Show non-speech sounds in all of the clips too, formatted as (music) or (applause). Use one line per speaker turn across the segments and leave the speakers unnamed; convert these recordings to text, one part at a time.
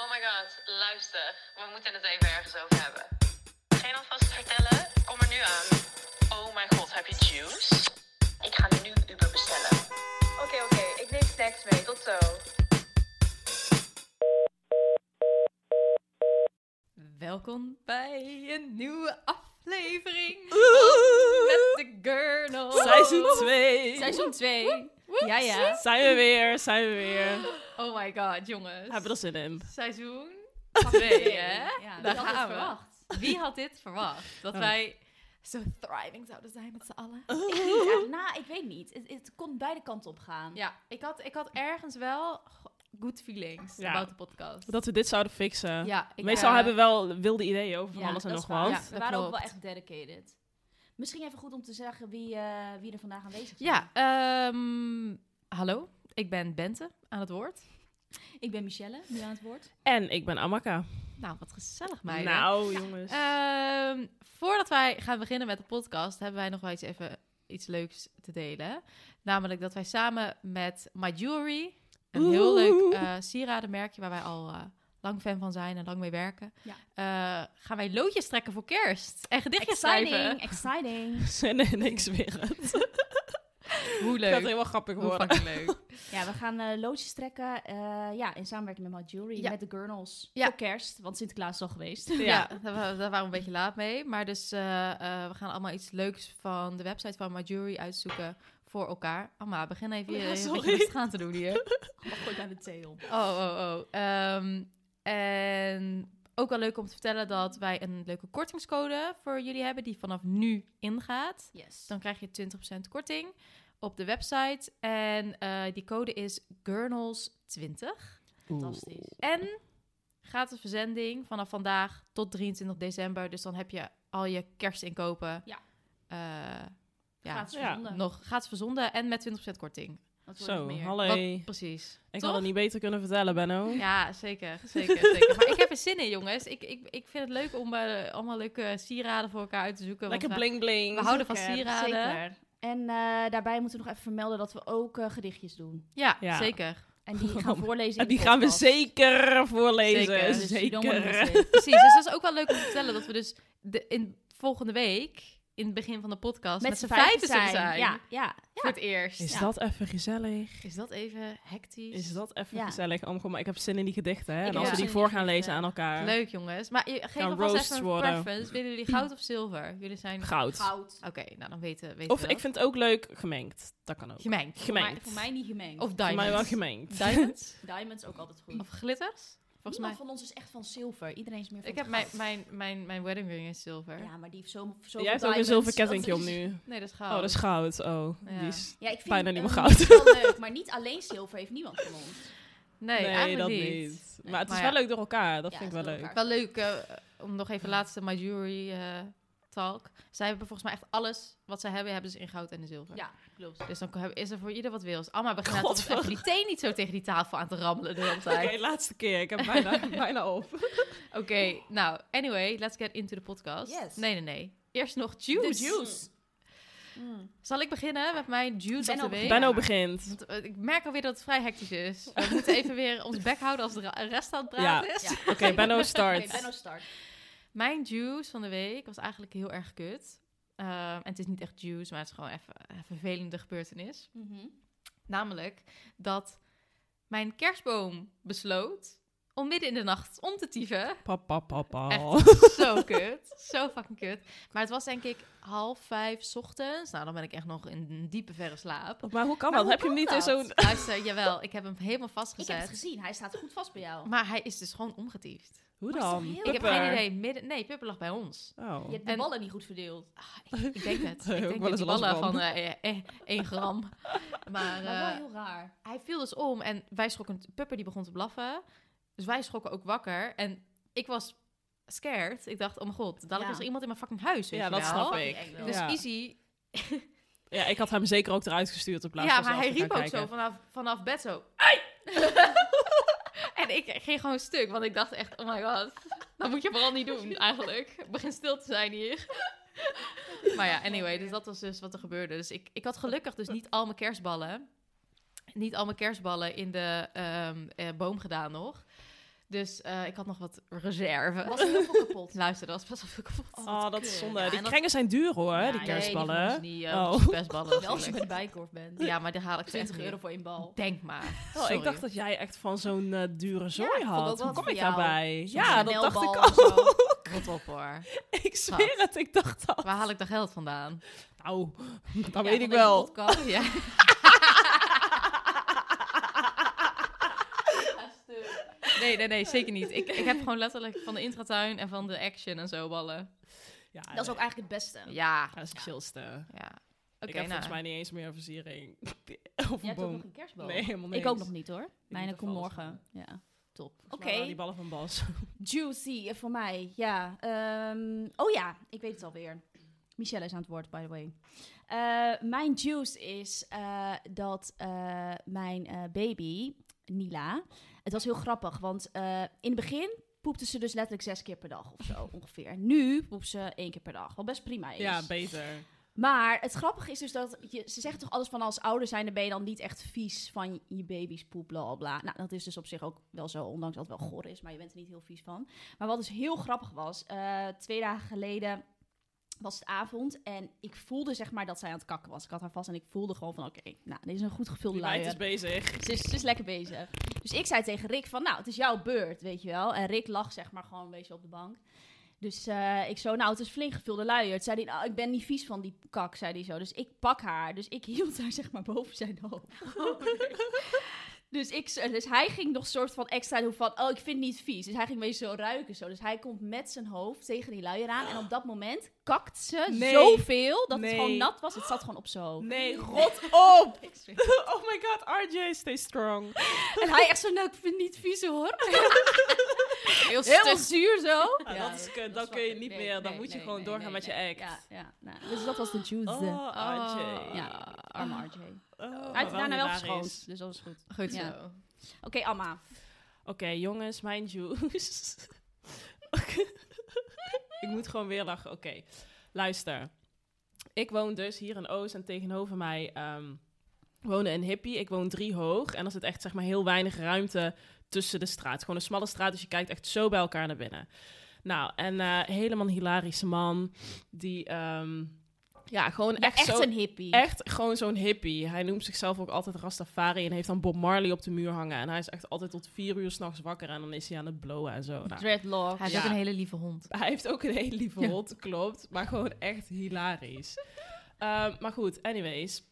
Oh my god, luister. We moeten het even ergens over hebben. Geen alvast vertellen? Kom er nu aan. Oh mijn god, heb je juice? Ik ga nu Uber bestellen. Oké, oké. Ik neem snacks mee. Tot zo.
Welkom bij een nieuwe aflevering van Met de Gurnel.
Seizoen 2.
Seizoen 2. Ja, ja.
Zijn we weer, zijn we weer.
Oh my god, jongens.
Hebben er zin in.
Seizoen 2, hè? Ja,
Daar
wie had dit
gaan we.
verwacht? Wie had dit verwacht? Dat
Oh.
wij zo thriving zouden zijn met z'n allen.
Oh.
Ja, nou, ik weet niet. Het, het kon beide kanten op gaan.
Ja, ik had, ik had ergens wel good feelings
Ja.
about de podcast.
Dat we dit zouden fixen.
ja, ik
Meestal
eh,
hebben we wel wilde ideeën over van
Ja,
alles en nog
dat is waar.
wat.
Ja,
We
dat
waren ook
klopt.
wel echt dedicated. Misschien even goed om te zeggen wie, eh, wie er vandaag aanwezig is.
Ja, ehm, hallo. Ik ben Bente aan het woord.
Ik ben Michelle, nu aan het
(laughs)
woord.
En ik ben Amaka.
Nou, wat gezellig, meiden.
Nou, jongens. (laughs)
Ehm, voordat wij gaan beginnen met de podcast, hebben wij nog wel eens even iets leuks te delen. Namelijk dat wij samen met My Jewelry, een heel leuk eh sieradenmerkje waar wij al eh, lang fan van zijn en lang mee werken,
Ja.
eh, gaan wij loodjes trekken voor kerst en gedichtjes
Exciting,
schrijven.
exciting.
en niks weer. (laughs) Het
Hoe
gaat
leuk.
helemaal grappig
Hoe
worden.
fucking leuk.
Ja, we gaan eh loodjes trekken eh, ja, in samenwerking met My Jewelry,
Ja.
met de Gurnals.
Ja.
Voor kerst, want Sinterklaas is al geweest.
Ja, daar, wa- daar waren we een beetje laat mee. Maar dus eh, eh, we gaan allemaal iets leuks van de website van My Jewelry uitzoeken voor elkaar. Amma, begin even
Ja,
je je een beetje
sorry.
rustig aan te doen hier.
Oh, gooi naar de thee op.
Oh, oh, oh. Ehm, en ook wel leuk om te vertellen dat wij een leuke kortingscode voor jullie hebben die vanaf nu ingaat. Dus
Yes.
dan krijg je 20% korting op de website. En eh, die code is Gurnals20.
Fantastisch.
En gratis verzending vanaf vandaag tot 23 december. Dus dan heb je al je kerstinkopen.
Ja.
eh, ja.
Gratis
Ja.
verzonden.
Nog gratis verzonden en met 20% korting.
Dat wordt nog
Zo,
meer.
hallo.
Wat- precies.
Ik
Toch?
had het niet beter kunnen vertellen, Benno. (laughs)
Ja, zeker. zeker, zeker. Maar ik heb er zin in, jongens. Ik, ik, ik vind het leuk om eh, allemaal leuke sieraden voor elkaar uit te zoeken. want
Lekker
we-
bling bling.
We houden van
Zeker,
sieraden.
zeker. En eh, daarbij moeten we nog even vermelden dat we ook eh, gedichtjes doen.
Ja,
Ja.
zeker.
En die gaan we voorlezen in
En die
de
gaan we
podcast.
zeker voorlezen.
Zeker.
Dus you don't wanna
Zeker.
miss it.
Precies. Dus dat is ook wel leuk om te vertellen dat we dus de, in, volgende week, in het begin van de podcast, met, z'n vijven zullen zijn.
Ja, ja.
Voor het eerst.
Is
Is,
dat even gezellig?
dat even hectisch?
Is dat even
Ja.
gezellig, Amgo? Maar ik heb zin in die gedichten, hè?
Ik
En
ook.
als we die
Ja.
voor gaan lezen aan elkaar.
Leuk, jongens. Maar je- geef
Gaan
alvast
roasts
even een
worden.
preference. Willen jullie goud of zilver? Jullie zijn...
Goud.
Goud.
Oké, nou dan weten, weten
Of
we
ik vind het ook leuk gemengd. Dat kan ook.
Gemengd.
Voor mij,
Gemengd.
voor mij niet gemengd. (laughs)
Of
Voor mij wel
diamonds.
gemengd.
Diamonds?
diamonds ook altijd goed.
Of glitters?
Volgens
Volgens mij.
van ons is echt van zilver. Iedereen is meer van
Ik heb
het
mijn,
goud.
mijn, mijn, mijn wedding ring is zilver.
Ja, maar die heeft zo, zoveel
Jij hebt ook een
diamonds,
zilver
dat
kettingje om
is-
nu.
Nee, dat is
Oh,
goud.
dat is goud. Oh,
Ja.
die is...
Ja, ik vind
Bijna niet meer
eh,
goud.
het wel leuk, maar niet alleen zilver heeft niemand van ons.
Nee,
Nee,
eigenlijk
dat
niet.
niet. Maar het is
Maar
wel
ja.
leuk door elkaar. Dat
Ja,
vind ik
het
wel
is door
leuk.
elkaar.
Wel leuk eh, om nog even laatste My Jewelry eh, talk. Zij hebben volgens mij echt alles wat zij hebben, hebben ze in goud en in zilver.
Ja, klopt.
Dus dan kan- is er voor ieder wat wils. Amma begint
God,
altijd even die thee niet zo tegen die tafel aan te rammelen de hele
Oké, (laughs)
tijd.
laatste keer. Ik heb bijna, bijna op.
Oké, nou, anyway, let's get into the podcast.
Yes.
Nee, nee, nee. Eerst nog
De
juice.
juice. Mm.
Zal ik beginnen met mijn juice of
Benno
the week?
begint.
Benno begint.
Want, eh, Ik merk alweer dat het vrij hectisch is. We moeten even weer ons bek houden als de ra- rest aan het praten
Ja.
is.
Ja.
Oké, Benno
Oké,
start.
Benno start.
Mijn juice van de week was eigenlijk heel erg kut. Ehm, en het is niet echt juice, maar het is gewoon even een vervelende gebeurtenis.
Mhm.
Namelijk dat Mijn kerstboom besloot om midden in de nacht om te tieven.
Papa, papa.
Echt zo kut. Zo fucking kut. Maar het was denk ik half vijf 's ochtends. Nou, dan ben ik echt nog in een diepe verre slaap.
Maar hoe kan
Maar
dat?
hoe
Heb je hem
kan
niet in
dat?
zo'n...
Luister, jawel, ik heb hem helemaal
Ik heb het
vastgezet.
gezien. Hij staat goed vast bij jou.
Maar hij is dus gewoon omgetiefd.
Hoe
Maar is
dan?
toch heel-
Ik heb
Pupper.
geen idee. Midden... Nee, Pippa lag bij ons.
Oh.
Je hebt de
En-
ballen niet goed verdeeld.
Ah, ik, ik denk het.
(laughs) Daar
Ik
heb ik
denk
wel
dat
eens
die
last
ballen
van.
van eh, eh, één
(laughs)
gram. Maar
maar wel
eh,
heel
(laughs)
raar.
hij viel dus om en wij schrokken. Pupper die begon te blaffen. Dus wij schrokken ook wakker. En ik was scared. Ik dacht, oh mijn god, dadelijk
Ja.
is er iemand in mijn fucking huis. Weet
Ja,
je
dat
wel.
snap
Fucking eng
ik.
wel.
Dus
Ja.
Izzy,
Ja, ik had hem zeker ook eruit gestuurd in plaats
ja,
van
maar
zelf
hij
te gaan
riep ook
kijken.
zo vanaf, vanaf bed zo. "Ai!" (laughs) en ik ging gewoon stuk, want ik dacht echt, oh my god, dat moet je vooral niet doen eigenlijk. Begin stil te zijn hier. (laughs) maar ja, anyway, dus dat was dus wat er gebeurde. Dus ik, ik had gelukkig dus niet al mijn kerstballen, niet al mijn kerstballen in de ehm, eh, boom gedaan nog. Dus eh, ik had nog wat reserve.
Was heel veel kapot.
Luister, dat was best wel veel kapot.
wat
Oh, dat is
kut.
zonde.
Ja,
die
en dat-
krengen zijn duur hoor,
Ja,
Nee,
die
nee,
van ons
kerstballen.
niet, eh,
Oh.
want het is
(laughs)
kerstballen.
Wel als je
natuurlijk.
met bijkorf bent.
Ja, maar daar haal ik ze echt
20
niet.
euro voor één bal.
Denk maar.
Oh, ik
Sorry.
dacht dat jij echt van zo'n eh, dure
Ja,
zooi
ik vond ook
had.
wel
Hoe kom
voor
ik
jou.
daarbij?
Zo'n
Ja, dat dacht
Chanelbal
ik
of zo.
ook.
Rot op hoor.
(laughs) Ik zweer het, ik dacht dat.
Waar haal ik dat geld vandaan?
Nou, (laughs) dat
Ja,
weet
van
ik
deze
wel.
podcast.
Ja. Nee, nee, nee, zeker niet. Ik, ik heb gewoon letterlijk van de intratuin en van de action en zo ballen.
Ja,
Dat is ook eigenlijk het beste.
Ja.
ja, dat is het chillste.
ja.
ik
Oké,
heb
nou.
volgens mij niet eens meer een versiering. (laughs) of
Jij
een
hebt ook nog
boom.
een kerstbal.
Nee, helemaal niks.
ik ook nog niet hoor. Mijne
moet
komt
even alles
morgen. Ja, top. Oké,
Oké. Die ballen van Bas.
juicy eh, voor mij. Ja. ehm, oh ja, ik weet het alweer. Michelle is aan het woord, by the way. Eh, mijn juice is eh, dat eh, mijn eh, baby, Nila... Het was heel grappig, want eh, in het begin poepte ze dus letterlijk zes keer per dag of zo ongeveer. Nu poept ze één keer per dag, wat best prima is.
Ja, beter.
Maar het grappige is dus dat je, ze zeggen toch alles van als ouder zijn, ben je dan niet echt vies van je baby's poep, bla bla. Nou, dat is dus op zich ook wel zo, ondanks dat het wel gor is, maar je bent er niet heel vies van. Maar wat dus heel grappig was, eh, twee dagen geleden was het avond en ik voelde zeg maar dat zij aan het kakken was. Ik had haar vast en ik voelde gewoon van oké, nou, dit is een goed gevulde
Die meid
luier.
is bezig.
Ze is, ze is lekker bezig. Dus ik zei tegen Rick van, nou, het is jouw beurt, weet je wel. En Rick lag zeg maar gewoon een beetje op de bank. Dus eh, ik zo, nou, het is flink gevulde luier. Toen zei hij, nou, ik ben niet vies van die kak, zei hij zo. Dus ik pak haar. Dus ik (laughs) hield haar zeg maar boven zijn hoofd.
Oh,
(laughs) dus, ik, zo- dus hij ging nog soort van extra doen van, oh, ik vind het niet vies. Dus hij ging een beetje zo ruiken zo. Dus hij komt met zijn hoofd tegen die luier aan. En op dat moment kakt ze
Nee.
zoveel dat
Nee.
het gewoon nat was. Het zat gewoon op zijn
(laughs)
hoofd.
Nee, rot op! (laughs) oh my god, RJ, stay strong.
En hij echt zo, nou, ik vind het niet vies hoor.
Heel
Heel
stuk.
zuur zo.
Ja, Ah, dat is kut. Dan kun je niet meer. Dan moet je gewoon doorgaan met je act.
Ja, (laughs) ja. Nou, dus dat was de juice.
Oh,
Oh.
RJ.
Ja, arme RJ.
Oh,
Hij heeft
wel
daarna wel
hilarisch.
geschoond, dus dat was goed.
Goed
Ja.
zo.
Oké, Amma.
Oké, jongens, mijn
(laughs)
juice. ik moet gewoon weer lachen. Oké, luister. Ik woon dus hier in Oost en tegenover mij ehm wonen een hippie. Ik woon drie hoog en er zit echt zeg maar heel weinig ruimte tussen de straat. Gewoon een smalle straat, dus je kijkt echt zo bij elkaar naar binnen. Nou, en eh, helemaal een hilarische man die... ehm, ja, gewoon
Ja,
echt,
echt
zo...
een hippie.
Echt gewoon zo'n hippie. Hij noemt zichzelf ook altijd Rastafari en heeft dan Bob Marley op de muur hangen. En hij is echt altijd tot vier uur s'nachts wakker en dan is hij aan het blowen en zo. Nou,
Dreadlocks.
Hij is
Ja.
ook een hele lieve hond.
hij heeft ook een hele lieve
Ja.
hond, klopt. Maar gewoon echt hilarisch. Ehm, maar goed, anyways.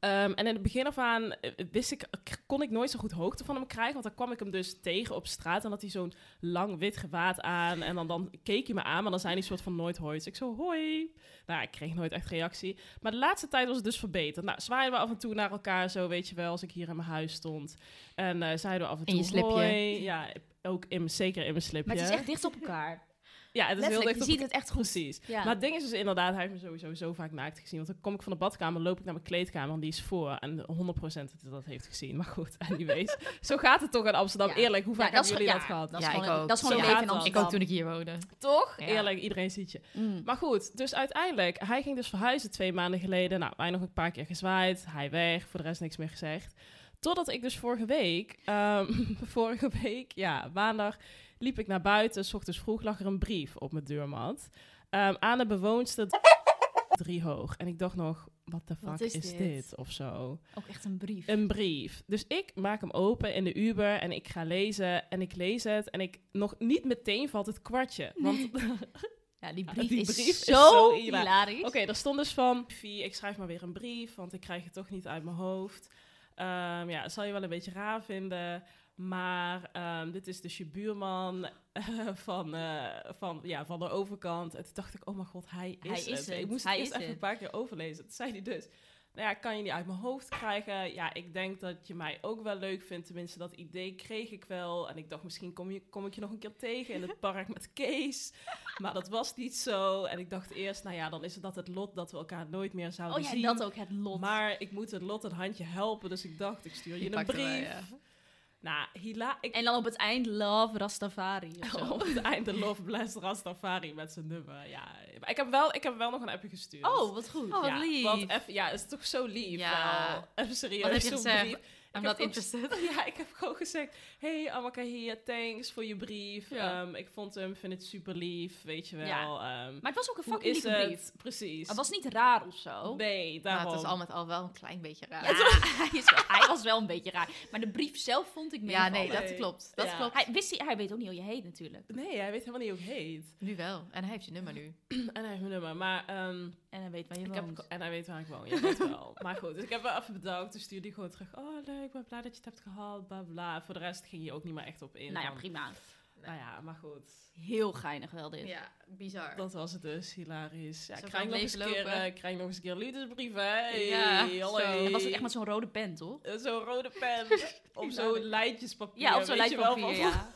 Ehm, en in het begin af aan eh, wist ik, k- kon ik nooit zo goed hoogte van hem krijgen. Want dan kwam ik hem dus tegen op straat. En had hij zo'n lang wit gewaad aan. En dan, dan keek hij me aan, maar dan zei hij soort van nooit hoi. Dus ik zo, hoi. Nou, ik kreeg nooit echt reactie. Maar de laatste tijd was het dus verbeterd. Nou, zwaaiden we af en toe naar elkaar zo, weet je wel. Als ik hier in mijn huis stond. En eh, zeiden we af en toe
In je slipje.
hoi. Ja, ook in, mijn- zeker in mijn slipje.
Maar het is echt dicht op elkaar.
Ja, het is heel
Letterlijk,
dicht
je
op
ziet het echt goed.
Precies.
Ja.
Maar het ding is dus inderdaad, hij heeft me sowieso zo vaak naakt gezien. Want dan kom ik van de badkamer, loop ik naar mijn kleedkamer en die is voor. En 100% dat hij dat heeft gezien. Maar goed,
(laughs)
anyways. zo gaat het toch in Amsterdam.
Ja.
Eerlijk, hoe
Ja,
vaak hebben jullie
ja,
dat gehad?
Dat is
Ja,
gewoon,
ik
een-
ook.
Dat is gewoon
Zo
een leven in
gaat dat.
Ik
Amsterdam.
ook toen ik hier woonde.
Toch?
Ja.
Eerlijk, iedereen ziet je.
Mm.
Maar goed, dus uiteindelijk, hij ging dus verhuizen twee maanden geleden. Nou, wij nog een paar keer gezwaaid, hij weg, voor de rest niks meer gezegd. Totdat ik dus vorige week, ehm, (laughs) vorige week, ja, maandag, liep ik naar buiten. S ochtends vroeg lag er een brief op mijn deurmat. ehm, aan de bewoonster drie hoog. En ik dacht nog, wat de
Wat
fuck
is
is,
dit?
dit? Of zo.
Ook echt een brief.
Een brief. Dus ik maak hem open in de Uber en ik ga lezen en ik lees het en ik nog niet meteen valt het kwartje. Want
(laughs)
ja, die brief,
brief die
is,
is brief is
zo
zo zo hila-
hilarisch.
Oké, er stond dus van, Fie, ik schrijf maar weer een brief, want ik krijg het toch niet uit mijn hoofd. Ehm, ja, zal je wel een beetje raar vinden, maar ehm, dit is dus je buurman van, eh, van, ja, van de overkant. En toen dacht ik, oh mijn god, hij is,
Hij is het,
Ik moest
hij
het eerst
is
even
het.
een paar keer overlezen. Toen zei hij dus, nou ja, kan je die uit mijn hoofd krijgen? Ja, ik denk dat je mij ook wel leuk vindt. Tenminste, dat idee kreeg ik wel. En ik dacht, misschien kom, je, kom ik je nog een keer tegen in het park met Kees. Maar dat was niet zo. En ik dacht eerst, nou ja, dan is het dat het lot dat we elkaar nooit meer zouden
oh ja,
zien.
dat ook, het lot.
Maar ik moet het lot een handje helpen. Dus ik dacht, ik stuur je een brief. Nou, hila ik
en oh. dan op het eind love Rastafari of zo.
Oh.
op het (laughs) einde Love Bless Rastafari met zijn nummer. Ja, maar ik heb wel, ik heb wel nog een appje gestuurd.
Oh, wat goed.
Oh, wat
ja,
lief.
Want even, ja, het is toch zo lief.
Ja.
wel. Even
Wat heb
serieus,
je
zo'n
gezegd?
brief. (laughs)
I'm
heb
not
ook-
interested.
Ja, ik heb gewoon gezegd, hey Amaka hier, thanks voor je brief.
Ja.
Ehm, ik vond hem, vind het super lief, weet je wel.
Ja.
Ehm,
Maar het was ook een
hoe
fucking
is
lieve
het?
brief.
Precies.
Het was niet raar of zo.
Nee,
Maar
daarom.
het is al met al wel een klein beetje raar.
Ja, hij, is wel- hij was (laughs) wel een beetje raar. Maar de brief zelf vond ik
Ja,
meevallen.
nee, dat
Nee.
klopt. Dat
Ja.
klopt.
Hij, wist, hij- hij weet ook niet hoe je heet natuurlijk.
Nee, hij weet helemaal niet hoe ik heet. (clears throat)
Nu wel. En hij heeft je nummer nu.
En hij heeft mijn nummer, maar... ehm,
En hij weet waar je
Ik
woont.
heb, en hij weet waar ik woon, ja, dat wel. (laughs) Maar goed, dus ik heb wel even bedankt. Toen stuurde hij gewoon terug. Oh, leuk, ik ben blij dat je het hebt gehaald, bla bla. Voor de rest ging je ook niet meer echt op in.
nou ja,
want-
prima.
Nou ja, maar goed.
Heel geinig wel dit.
Ja, bizar.
Dat was het dus, hilarisch. Ja,
Zo
ik
van
krijg nog, eens een
leeglopen.
keer, eh, ik krijg nog eens een keer liefdesbrieven. Hey,
Ja,
hallo.
zo.
Oh, Dat was ook echt met zo'n rode pen, toch?
Eh, zo'n rode
(laughs)
pen. op zo'n lijntjespapier.
Ja, op zo'n
weet
lijstje
je wel,
papier,
van-
ja.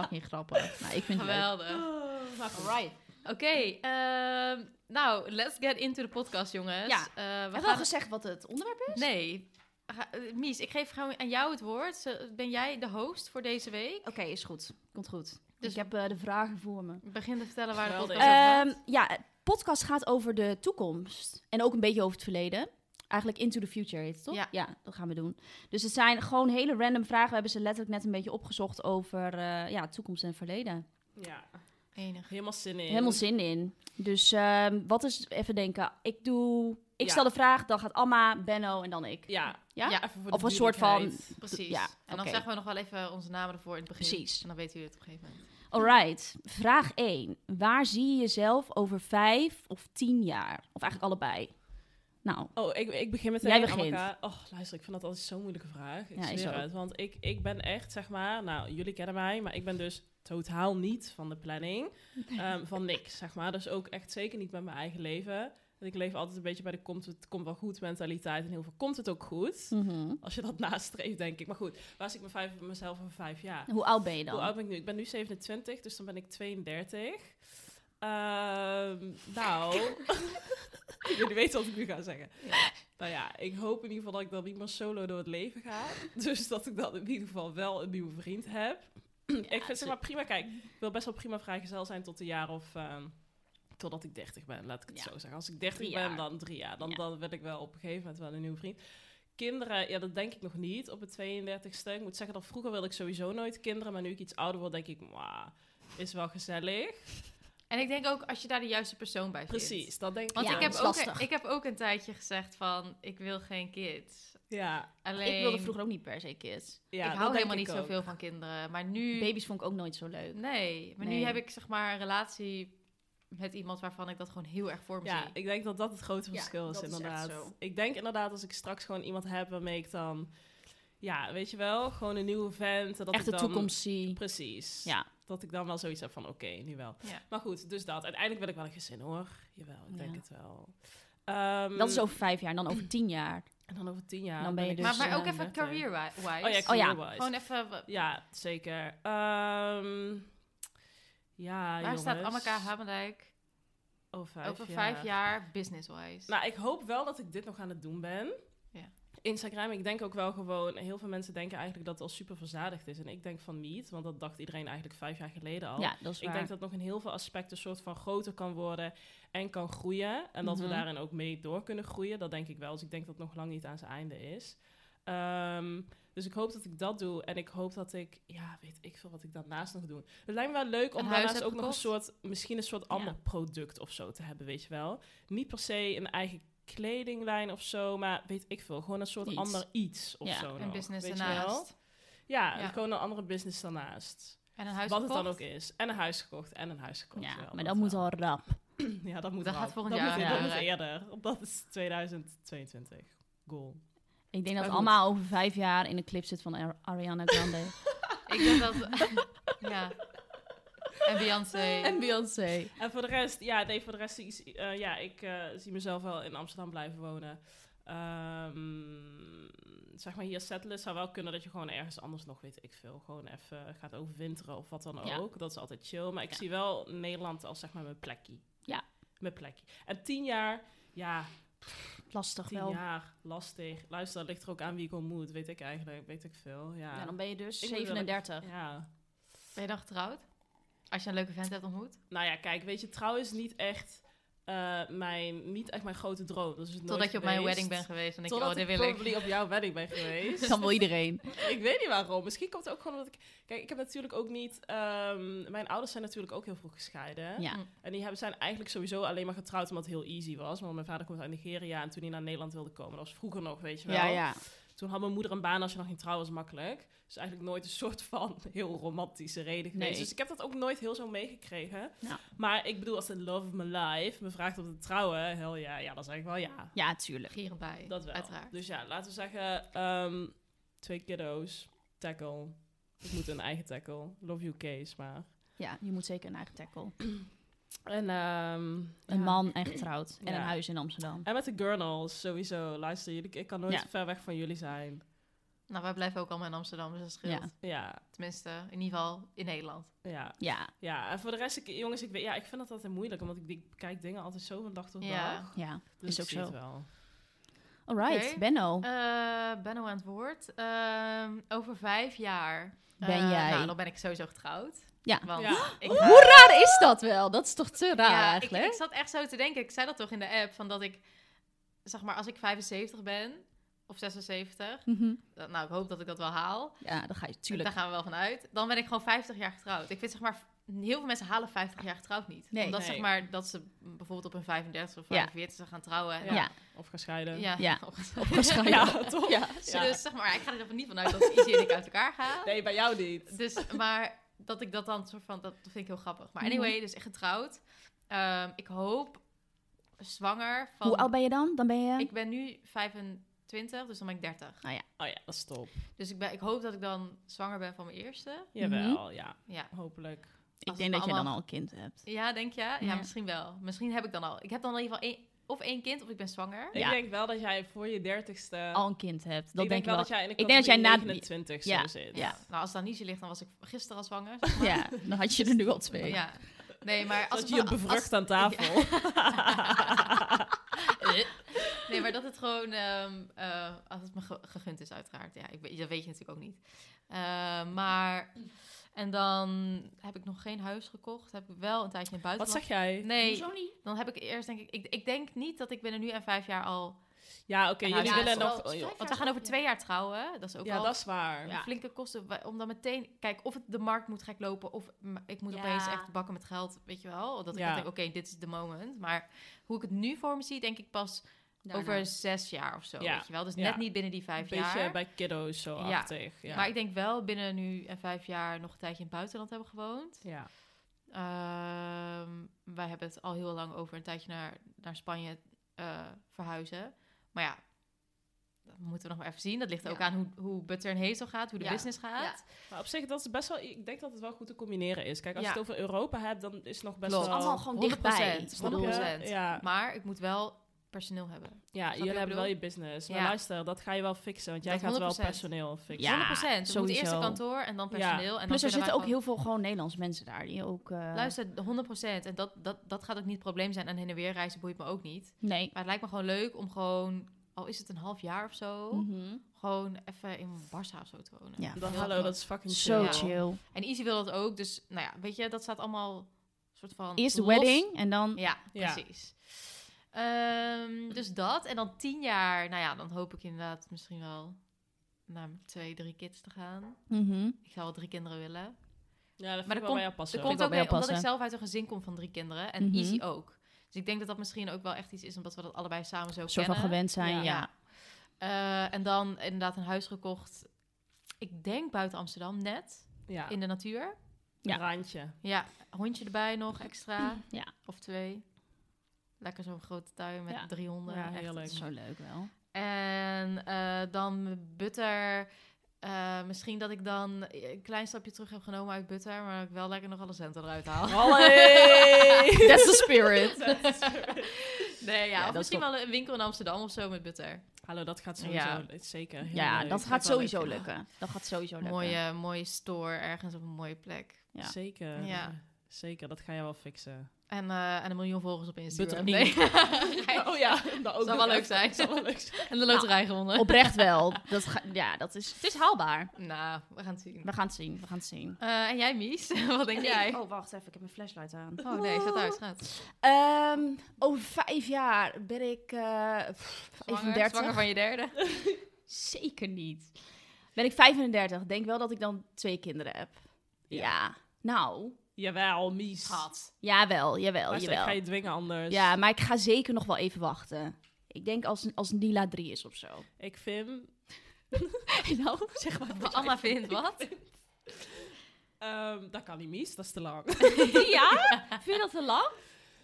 Fucking grappig. Nou, ik vind het leuk.
Geweldig.
Oh, maar goed.
Right.
Oké, ehm, nou, let's get into the podcast, jongens.
Ja.
Eh, we
Hebben we al
gaan...
gezegd wat het onderwerp is?
Nee. Ga- eh, Mies, ik geef gewoon aan jou het woord. Zo- Ben jij de host voor deze week?
Oké, is goed. Komt goed.
Dus-
ik heb eh, de vragen voor me.
Begin te vertellen waar de
Geweldig.
podcast over gaat.
Ehm, ja, het podcast gaat over de toekomst. En ook een beetje over het verleden. Eigenlijk into the future heet het, toch?
Ja.
dat gaan we doen. Dus het zijn gewoon hele random vragen. We hebben ze letterlijk net een beetje opgezocht over eh, ja, toekomst en verleden.
Ja,
Ehm,
Enig.
helemaal zin in.
Helemaal zin in. Dus ehm, wat is, even denken, ik doe... Ik
Ja.
stel de vraag, dan gaat Alma, Benno en dan ik.
Ja,
Ja?
Ja.
even voor
Of
de
een soort van...
duidelijkheid.
Precies.
Ja,
en dan
oké.
zeggen we nog wel even onze namen ervoor in het begin.
Precies.
En dan weten jullie het op een gegeven moment.
Alright, vraag 1. Waar zie je jezelf over vijf of tien jaar? Of eigenlijk allebei. Nou,
Oh, ik, ik begin meteen.
Jij begint.
Amaka. Och, luister, ik vind dat altijd zo'n moeilijke vraag. Ik
Ja, is
zweer
ook.
het. Want ik, ik ben echt, zeg maar... Nou, jullie kennen mij, maar ik ben dus totaal niet van de planning.
(laughs)
ehm, van niks, zeg maar. Dus ook echt zeker niet met mijn eigen leven. Want ik leef altijd een beetje bij de komt het komt wel goed mentaliteit. En heel veel komt het ook goed.
mhm.
Als je dat (laughs) nastreeft, denk ik. Maar goed, waar zie ik mijn vijf, mezelf over vijf jaar?
hoe oud ben je dan?
Hoe oud ben ik nu? Ik ben nu 27, dus dan ben ik 32. Ehm, nou, (laughs) jullie weten wat ik nu ga zeggen. Nou ja, ik hoop in ieder geval dat ik dan niet meer solo door het leven ga. (laughs) Dus dat ik dan in ieder geval wel een nieuwe vriend heb. ik vind
ze-
zeg maar prima, kijk, ik wil best wel prima vrijgezel zijn tot een jaar of... ehm, totdat ik 30 ben, laat ik het
Ja.
zo zeggen. Als ik 30
Drie jaar.
ben, dan drie jaar. Dan,
Ja.
dan wil ik wel op een gegeven moment wel een nieuwe vriend. Kinderen, ja, dat denk ik nog niet op het 32ste. Ik moet zeggen dat vroeger wilde ik sowieso nooit kinderen. Maar nu ik iets ouder word, denk ik, "Mwah, is wel gezellig.
En ik denk ook als je daar de juiste persoon bij vindt.
Precies, dat denk ik.
Want
Ja,
wel.
ik,
dat
heb
is
ook,
lastig.
ik heb ook een tijdje gezegd van, ik wil geen kids.
Ja,
Alleen,
Ik wilde vroeger ook niet per se kids.
ja,
ik
dat
hou
denk
helemaal
ik
niet
ook.
zoveel van kinderen. Maar
Mm.
nu...
Baby's vond ik ook nooit zo leuk.
Nee, maar
Nee.
nu heb ik zeg maar een relatie met iemand waarvan ik dat gewoon heel erg voor me
Ja,
zie.
ik denk dat dat het grote
Ja,
verschil is,
dat is echt
inderdaad.
zo.
Ik denk inderdaad als ik straks gewoon iemand heb waarmee ik dan... Ja, weet je wel, gewoon een nieuwe vent. en Dat
Echt
ik
de
dan-
toekomst zie.
Precies.
Ja.
Dat ik dan wel zoiets heb van, oké, nu wel.
Ja.
Maar goed, dus dat. Uiteindelijk wil ik wel een gezin, hoor. Jawel, ik denk
Ja.
het wel. Ehm,
Dat is over vijf jaar, dan over tien jaar.
En dan over tien jaar.
Dan ben je
ik
dus,
maar, maar ook
eh,
even
30.
career-wise.
Oh ja,
Oh ja,
career-wise.
Gewoon even... wa-
Ja, zeker. Ehm, ja,
Waar staat Amaka
Hamaka
Hamendijk
over vijf
over vijf jaar business-wise?
Nou, ik hoop wel dat ik dit nog aan het doen ben.
Ja.
Instagram, ik denk ook wel gewoon... Heel veel mensen denken eigenlijk dat het al super verzadigd is. En ik denk van niet, want dat dacht iedereen eigenlijk vijf jaar geleden al.
Ja, dat is waar.
Oh, Ik denk dat nog in heel veel aspecten een soort van groter kan worden en kan groeien. En dat
Mhm.
we daarin ook mee door kunnen groeien. Dat denk ik wel. Dus ik denk dat het nog lang niet aan zijn einde is. Ehm, dus ik hoop dat ik dat doe. En ik hoop dat ik, ja, weet ik veel wat ik daarnaast nog doe. Het lijkt me wel leuk
Een
om
huis
daarnaast
hebt
ook nog een
gekocht?
soort, misschien een soort ander product of zo te hebben, weet je wel. Niet per se een eigen kledinglijn of zo, maar weet ik veel. Gewoon een soort
Iets.
ander iets of
Ja,
zo.
Een
nog,
business
weet je wel?
daarnaast.
Ja,
Ja.
gewoon een andere business daarnaast.
En een huis
Wat
gekocht.
het dan ook is. En een huis gekocht en een huis gekocht.
Ja,
Jawel,
maar dat moet
wel.
al rap.
Ja, dat moet
Dat
wel.
gaat volgend
dat
jaar
Moet, dat moet
gebeuren.
eerder. Dat is 2022. Goal.
Ik denk dat
Maar goed.
Alma over vijf jaar in een clip zit van Ar- Ariana Grande.
(laughs)
Ik denk dat... (laughs) ja. En Beyoncé.
Beyoncé.
En voor de rest, ja, nee, voor de rest is, eh, ja, ik eh, zie mezelf wel in Amsterdam blijven wonen. Ehm, zeg maar hier settelen zou wel kunnen dat je gewoon ergens anders nog, weet ik veel, gewoon even gaat overwinteren of wat dan
Ja.
ook. Dat is altijd chill. Maar ik
Ja.
zie wel Nederland als zeg maar mijn plekje.
Ja.
Mijn plekje. En tien jaar, ja,
Lastig
tien
wel.
jaar, lastig. Luister, dat ligt er ook aan wie ik ontmoet, weet ik eigenlijk, weet ik veel. Ja.
Ja, dan ben je dus
Ik moet wel-
37.
ja.
Ben je dan getrouwd? Als je een leuke vent hebt ontmoet?
Nou ja, kijk, weet je, trouw is niet echt, eh, mijn, niet echt mijn grote droom. Dat is het nooit
Totdat je op mijn
geweest.
wedding bent geweest. En ik,
Totdat
oh, dit
ik
wil ik.
probably op jouw wedding ben
(laughs)
geweest.
Dan wil iedereen.
ik weet niet waarom. Misschien komt het ook gewoon omdat ik... Kijk, ik heb natuurlijk ook niet... ehm, mijn ouders zijn natuurlijk ook heel vroeg gescheiden.
Ja.
En die hebben, zijn eigenlijk sowieso alleen maar getrouwd omdat het heel easy was. Want mijn vader komt uit Nigeria en toen hij naar Nederland wilde komen. Dat was vroeger nog, weet je wel.
Ja, ja.
Toen had mijn moeder een baan als je nog ging trouwen, was makkelijk. Dus eigenlijk nooit een soort van (laughs) heel romantische reden geweest.
Nee.
Dus ik heb dat ook nooit heel zo meegekregen.
Ja.
Maar ik bedoel, als de love of my life me vraagt om te trouwen, hell ja, ja, dan zeg ik wel ja.
Ja, tuurlijk.
Gierend bij.
Dat wel.
Uiteraard.
Dus ja, laten we zeggen, ehm, twee kiddo's, tackle. Ik moet een eigen tackle. Love you case, maar.
Ja, je moet zeker een eigen tackle.
En, ehm,
Een man en getrouwd. En
Ja.
een huis in Amsterdam.
en met de gurnals, sowieso. Luister, jullie, ik kan nooit
Ja.
ver weg van jullie zijn.
Nou, wij blijven ook allemaal in Amsterdam, dus dat scheelt.
Ja.
Ja,
Tenminste, in ieder geval in Nederland.
ja.
Ja,
Ja, en voor de rest, ik, jongens, ik, weet, ja, ik vind dat altijd moeilijk, omdat ik, ik kijk dingen altijd zo van dag tot
Ja.
dag.
ja.
Dus
Is
ik
ook
zie het
zo.
wel.
Alright,
Oké.
Benno.
Eh Benno aan het woord. Ehm, over vijf jaar. eh,
Ben jij-
Nou, dan ben ik sowieso getrouwd.
Ja.
Want
Ja.
ik,
Hoe raar is dat wel? Dat is toch te raar
ja, ik,
eigenlijk?
ik zat echt zo te denken. Ik zei dat toch in de app, van dat ik, zeg maar, als ik 75 ben of 76,
Mhm.
dat- nou, ik hoop dat ik dat wel haal.
Ja, dat ga je tuurlijk.
Daar gaan we wel van uit. Dan ben ik gewoon 50 jaar getrouwd. Ik vind zeg maar, heel veel mensen halen 50 jaar getrouwd niet.
Nee.
Omdat
Nee.
zeg maar, dat ze bijvoorbeeld op hun 35 of
Ja.
45 gaan trouwen. En-
Ja, ja.
Of gaan scheiden.
Ja. (laughs)
Ja.
(laughs) Ja,
waarschijnlijk.
toch?
Ja.
Ja.
Dus zeg maar, ik ga er even niet van uit dat Izzy en ik uit elkaar gaan.
Nee, bij jou niet.
(laughs) Dus, maar dat ik dat dan soort van, dat vind ik heel grappig.
Mhm.
Maar anyway, dus echt getrouwd. Ehm, ik hoop zwanger van...
Hoe oud ben je dan? Dan ben je...
Ik ben nu 25, dus dan ben ik 30.
Oh ja, dat is top.
Dus ik, ben, ik hoop dat ik dan zwanger ben van mijn eerste.
Jawel, ja.
Ja,
Hopelijk.
Ik
als
denk
we
dat je dan
allemaal-
al een kind hebt.
ja denk je? Ja,
Ja.
misschien wel. Misschien heb ik dan al. Ik heb dan in ieder geval één, of één kind of ik ben zwanger.
Ja.
Ik denk wel dat jij voor je dertigste...
Al een kind hebt. Dat
ik
denk
denk
ik wel.
wel dat jij in de
Ik denk dat jij na-
categorie 29 zo
Ja,
zit.
ja.
Nou, als dat niet zo ligt, dan was ik gisteren al zwanger.
Ja, dan had je er nu al twee.
Ja. Nee, maar als
Dat je je
van- als-
bevrucht aan tafel. (laughs)
nee, maar dat het gewoon, ehm, eh, als het me ge- gegund is, uiteraard. Ja, ik, weet- dat weet je natuurlijk ook niet. Eh, maar, en dan heb ik nog geen huis gekocht. Heb ik wel een tijdje in het
Wat
buitenland.
zeg jij?
Nee,
niet?
dan heb ik eerst denk ik, ik, ik denk niet dat ik binnen nu en vijf jaar al...
Ja, oké,
Ja,
jullie
ja,
willen
het is
nog...
wel-
oh, joh.
Want we gaan over twee jaar trouwen. Dat is ook
Ja,
al
dat is waar.
een flinke kosten. wa- Om dan meteen, kijk, of het de markt moet gek lopen... of m- ik moet
Ja.
opeens echt bakken met geld, weet je wel. Dat ik
Ja.
dan denk, oké, dit is de moment. Maar hoe ik het nu voor me zie, denk ik pas
nou,
over zes jaar of zo,
Ja.
weet je wel. Dus
Ja.
net niet binnen die
Een
vijf
beetje
jaar.
bij kiddo's zo
Ja.
achtig. Ja.
Maar ik denk wel binnen nu en vijf jaar nog een tijdje in het buitenland hebben gewoond.
ja.
Ehm, wij hebben het al heel lang over een tijdje naar, naar Spanje eh, verhuizen. Maar ja, dat moeten we nog maar even zien. Dat ligt
Ja.
ook aan hoe, hoe Butter en Hazel gaat, hoe de
Ja.
business gaat.
Maar op zich, dat is best wel... Ik denk dat het wel goed te combineren is. Kijk, als
Ja.
je het over Europa hebt, dan is het nog best
Klopt.
wel...
allemaal gewoon dichtbij.
100%,
Ik bedoel,
100%.
Ja.
Maar ik moet wel personeel hebben.
Ja,
je wat ik
jullie hebben wel
bedoel?
je business. Maar
Ja.
luister, dat ga je wel fixen. Want jij
Dat
gaat wel
100%.
personeel fixen.
Ja,
100%. Dus we moeten eerst
Ah, sowieso.
een kantoor en dan
Ja.
personeel. En dan
Plus er
kunnen wij
zitten ook
gewoon-
heel veel gewoon Nederlandse mensen daar. Die ook... eh,
Luister, 100%. En dat, dat, dat gaat ook niet het probleem zijn. En heen en weer reizen boeit me ook niet.
Nee.
Maar het lijkt me gewoon leuk om gewoon, al is het een half jaar of zo,
Mhm.
gewoon even in Barça of zo te wonen.
Ja.
Dan,
Heel
hallo,
knap.
dat is fucking
Zo
Dus, Ja.
chill.
En Easy wil dat ook, dus nou ja, weet je, dat staat allemaal soort van.
Eerst de
los.
wedding en dan...
Ja,
Ja.
precies. Ehm, dus dat. En dan tien jaar, nou ja, dan hoop ik inderdaad misschien wel naar twee, drie kids te gaan.
Mhm.
Ik zou wel drie kinderen willen.
Ja, dat vind
Maar er
ik wel bij
komt-
jou passen.
Er komt
wel
ook
bij jou
mee, omdat ik
passen.
zelf uit een gezin kom van drie kinderen en
Mhm.
Easy ook. Dus Dus ik denk dat dat misschien ook wel echt iets is, omdat we dat allebei samen zo
Soort van
kennen.
gewend zijn, ja.
Ja. Eh, en dan inderdaad een huis gekocht. Ik denk buiten Amsterdam net.
Ja,
In de natuur.
Ja.
randje.
Ja, hondje erbij nog extra.
Ja.
Of twee. Lekker zo'n grote tuin met
Ja.
drie honden.
Ja,
echt.
heerlijk.
Zo leuk wel.
En eh, dan Butter. Eh, misschien dat ik dan een klein stapje terug heb genomen uit Butter, maar dat ik wel lekker nog alle centen eruit haal. (laughs)
Allee!
That's the spirit.
Nee, ja,
Ja,
of
dat is
misschien wel een winkel in Amsterdam of zo met Butter.
(laughs) Hallo, dat gaat sowieso
Ja.
dat is zeker heel
ja,
leuk.
dat gaat
Ook wel leuk.
sowieso lukken. Dat gaat sowieso lukken.
Mooie, mooie store ergens op een mooie plek.
Ja.
Zeker.
Ja.
Zeker, dat ga je wel
(laughs)
fixen.
En, eh, en een miljoen volgers op Instagram.
Butter Inc.
(laughs)
Nee.
Oh ja, (laughs) dat
Zou
ook
wel
nog
leuk
even.
zijn.
Zou wel leuk zijn.
en de loterij
Nou.
gewonnen.
Oprecht wel. Dat ga- ja, dat is, het is haalbaar.
Nou, we gaan het zien.
We gaan het zien, we gaan het zien.
Eh, en jij, Mies? (laughs) Wat denk jij?
Oh, wacht even, ik heb mijn flashlight aan.
Oh nee, zet uit, gaat.
Ehm, over vijf jaar ben ik eh pff,
Zwanger,
31.
zwanger van je derde.
(laughs) Zeker niet. Ben ik 35. Denk wel dat ik dan twee kinderen heb. Ja.
Ja.
Nou,
Jawel, mies.
Schat. Oh,
jawel, jawel,
Luister, ik
jawel.
ga je dwingen anders.
dus-
Ja, maar ik ga zeker nog wel even wachten. Ik denk als, als Nila 3 is of
(laughs)
zo.
Ik vind...
nou, zeg maar.
Wat (laughs) Anna vindt, wat?
ehm, dat kan niet, mies. Dat is te lang.
(laughs)
(laughs)
ja? Vind je dat te lang?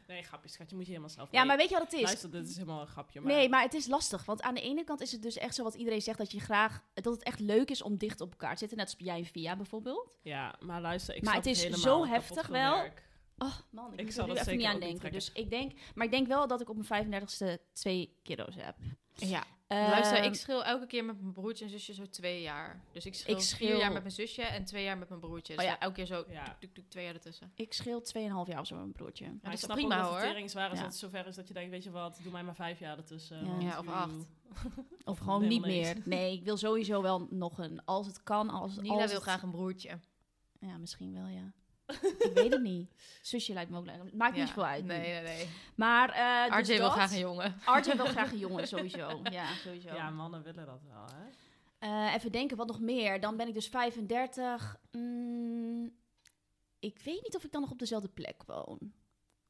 Nee, grapje, schat. Je moet je helemaal zelf
Ja,
mee-
maar weet je wat het is?
Luister, dit is helemaal een grapje. Maar...
Nee, maar het is lastig. Want aan de ene kant is het dus echt zo wat iedereen zegt... dat je graag dat het echt leuk is om dicht op elkaar te zitten. Net als jij en Via bijvoorbeeld.
Ja, maar luister, ik
Maar
snap
het is
helemaal
zo
kapot
heftig
veel
wel.
werk.
Oh man, ik,
Ik
moet
zal
er nu
dat
even niet
zeker
aan
ook niet
denken. Dus
trekken.
ik denk, maar ik denk wel dat ik op mijn 35ste twee kiddo's heb.
Ja.
Ehm,
Luister, ik schil elke keer met mijn broertje en zusje zo twee jaar. Dus ik schil,
Ik schil-
vier jaar met mijn zusje en twee jaar met mijn broertje. Dus
Oh ja.
elke keer zo
Ja.
tuk, tuk, tuk, twee jaar ertussen.
Ik scheel 2,5 jaar of zo met mijn broertje.
Maar
dat
ik
is
snap
prima,
ook dat
hoor.
het tering zwaar is
Ja.
dat het zover is dat je denkt, weet je wat, doe mij maar vijf jaar ertussen.
Ja.
want
Ja, of
joe.
acht.
Of gewoon niet
helemaal
meer. Nee, ik wil sowieso wel nog een. Als het kan, als
Nila
als
wil
het-
graag een broertje.
Ja, misschien wel, ja. ik weet het niet. Zusje lijkt me ook leuk. Maakt
Ja.
niet veel uit. nu.
Nee, nee, nee.
Maar eh
RJ
dus
wil
dat.
graag een
(laughs)
jongen.
RJ wil graag een jongen, sowieso. Ja, sowieso.
Ja, mannen willen dat wel, hè?
Eh, even denken, wat nog meer? Dan ben ik dus 35. Mm, ik weet niet of ik dan nog op dezelfde plek woon.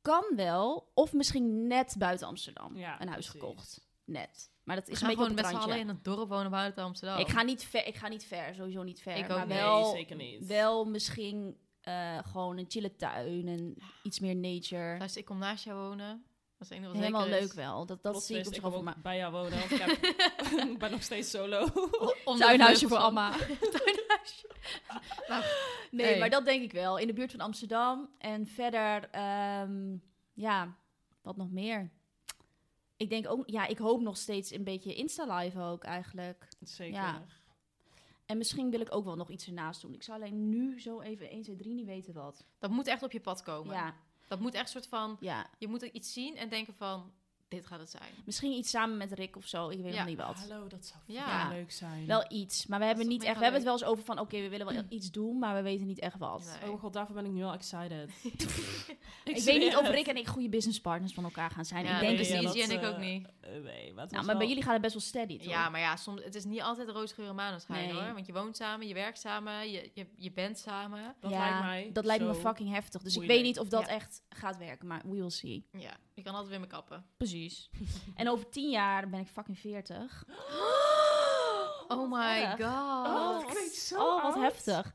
Kan wel, of misschien net buiten Amsterdam.
Ja,
een huis
precies.
gekocht. Net. Maar dat
Ik
is
ga
een beetje
gewoon
op het
met z'n
randje.
allen in het dorp wonen buiten Amsterdam.
Ik ga niet ver, ik ga niet ver, sowieso niet ver.
Ik ook
maar
niet.
wel,
nee, zeker niet.
wel misschien eh, gewoon een chille tuin en iets meer nature.
Luister, ik kom naast jou wonen. Dat is het enige wat
Helemaal
zeker is.
leuk wel. Dat, dat
Plot
zie ik
twist,
op zich wel voor
kom
mij.
ook bij jou wonen, want ik, heb-
(laughs)
(laughs) ik ben nog steeds solo.
(laughs) Om de
Tuinhuisje
vleugels
voor
van-
Amma.
Tuinhuisje.
Nee,
Hey.
maar dat denk ik wel. In de buurt van Amsterdam. En verder, ehm, ja, wat nog meer? Ik denk ook, ja, ik hoop nog steeds een beetje Insta-live ook eigenlijk.
zeker.
Ja. En misschien wil ik ook wel nog iets ernaast doen. Ik zou alleen nu zo even 1, 2, 3 niet weten wat.
Dat moet echt op je pad komen.
Ja,
Dat moet echt soort van...
ja.
Je moet er iets zien en denken van... Dit gaat het zijn.
Misschien iets samen met Rick of zo. Ik weet
Ja.
nog niet wat.
Hallo, dat zou
Ja.
fucking leuk zijn.
Wel iets. Maar we hebben,
toch
niet echt, we
mega Hmm.
hebben het wel eens over van... Oké, we willen wel iets doen, maar we weten niet echt wat.
Nee.
Oh mijn god, daarvoor ben ik nu al
(laughs)
excited.
Ik, weet niet of Rick en ik goede businesspartners van elkaar gaan zijn.
Ja,
ik denk
dat
het
is
niet.
easy en ik
eh,
ook niet.
Eh, nee, maar, het
Nou,
was
maar bij
wel-
jullie gaat het best wel steady, toch?
Ja, maar ja, soms, het is niet altijd roosgeuren maanschijn
Nee.
hoor. Want je woont samen, je werkt samen, je, je, je bent samen.
Dat
Ja,
lijkt mij
dat lijkt me
zo
fucking heftig. Dus ik
moeilijk.
weet niet of dat
Ja.
echt gaat werken, maar we will see.
Ja, je kan altijd weer me kappen.
(gasps) Precies. (laughs) en over tien jaar ben ik fucking 40.
Oh
wat
my
erg.
god.
Oh, dat klinkt zo
Oh, wat
oud.
heftig.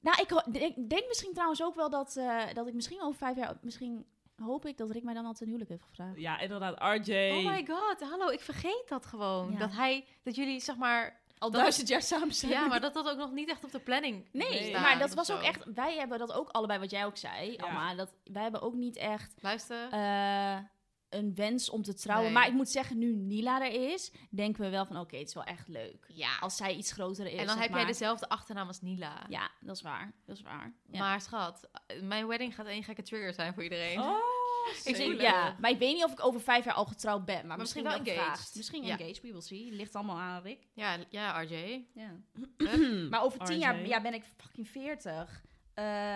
Nou, ik ho- denk, denk misschien trouwens ook wel dat, eh, dat ik misschien over vijf jaar... Misschien hoop ik dat Rick mij dan al ten huwelijk heeft gevraagd.
Ja, inderdaad, RJ.
Oh my god, hallo, ik vergeet dat gewoon.
Ja.
Dat hij, dat jullie zeg maar...
Al
Dat-
duizend jaar samen zijn. (laughs)
Ja, maar dat dat ook nog niet echt op de planning
Nee,
Nee.
maar
staat
dat
of
was
zo.
ook echt... Wij hebben dat ook allebei, wat jij ook zei,
Ja.
Amma. Dat, wij hebben ook niet echt...
Luister,
eh, een wens om te trouwen.
Nee.
Maar ik moet zeggen, nu Nila er is, denken we wel van oké, het is wel echt leuk.
ja.
Als zij iets groter is.
en dan
zeg
heb
maar.
jij dus- dezelfde achternaam als Nila.
Ja, dat is waar. Dat is waar. Ja.
Maar schat, mijn wedding gaat één gekke trigger zijn voor iedereen.
Oh,
Ik
Ik-
denk,
zeker.
ja, maar ik weet niet of ik over vijf jaar al getrouwd ben. Maar misschien,
Misschien wel
wel
engaged.
gevraagd. Misschien
Ja.
engaged, we will see. Ligt allemaal aan Rick.
Ja, ja, RJ.
Ja.
Hup.
(clears throat) Maar over tien
RJ.
jaar ja, ben ik fucking veertig.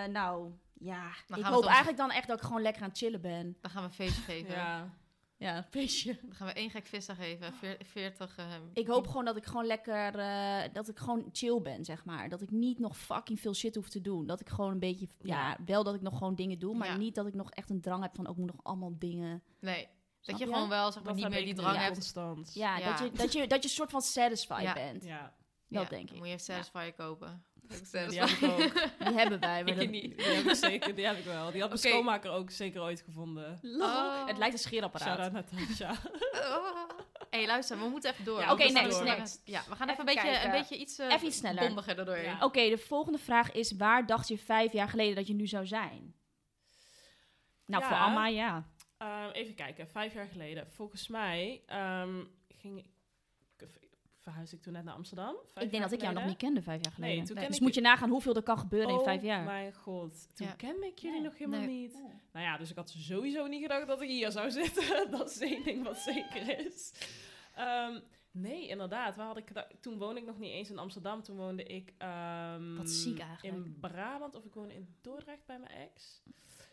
nou, ja.
gaan
ik
we
hoop
dan-
eigenlijk dan echt dat ik gewoon lekker aan het chillen ben.
Dan gaan we een feestje geven.
Ja.
Ja, een feestje.
Dan gaan we één gek visdag geven. Veer- 40. eh,
Ik hoop gewoon dat ik gewoon lekker, eh, dat ik gewoon chill ben, zeg maar. Dat ik niet nog fucking veel shit hoef te doen. Dat ik gewoon een beetje, ja, wel dat ik nog gewoon dingen doe, maar
Ja.
niet dat ik nog echt een drang heb van, ook moet nog allemaal dingen.
Nee.
Snap
Dat je
je?
gewoon wel zeg maar, niet
heb
meer
ik
die drang
Ja.
hebt.
Constant.
Ja,
Ja.
Dat, je, dat, je, dat je soort van satisfied
Ja.
bent.
Ja.
Dat
Ja,
denk
dan
ik.
Moet je even
Ja.
Satisfy kopen.
Die heb ik ook.
(laughs)
Die hebben wij, maar
Ik
dat-
niet.
Die heb ik zeker, die heb ik wel. Die had mijn
Oké.
schoonmaker ook zeker ooit gevonden.
Lol.
Oh.
Het lijkt een
Shout-out
scheerapparaat.
Natasja.
Hé, hey, luister, we moeten even door.
Ja,
want
oké,
we staan
next,
door.
next.
Ja, we gaan
Even
even, een, beetje,
kijken.
een beetje iets eh,
Even iets sneller.
bondiger erdoor.
Ja.
Oké, de volgende vraag is, waar dacht je vijf jaar geleden dat je nu zou zijn? Nou,
Ja.
voor Amma, ja.
Ehm, even kijken, vijf jaar geleden. Volgens mij ehm, ging ik, verhuisde ik toen net naar Amsterdam. Vijf
Ik denk
jaar
dat ik jou nog
geleden.
niet kende vijf jaar
Nee,
geleden.
toen
Nee.
ken
Dus
ik-
moet je nagaan hoeveel er kan gebeuren in vijf jaar.
Oh mijn god, toen
Ja.
ken ik jullie
Nee. Oh.
nog helemaal
Nee.
niet. Nou ja, dus ik had sowieso niet gedacht dat ik hier zou (laughs) zitten. dat is één ding wat zeker is. Ehm, nee, inderdaad. Waar had ik gedacht? Toen woonde ik nog niet eens in Amsterdam. Toen woonde ik ehm,
Wat ziek eigenlijk.
in Brabant of ik woonde in Dordrecht bij mijn ex.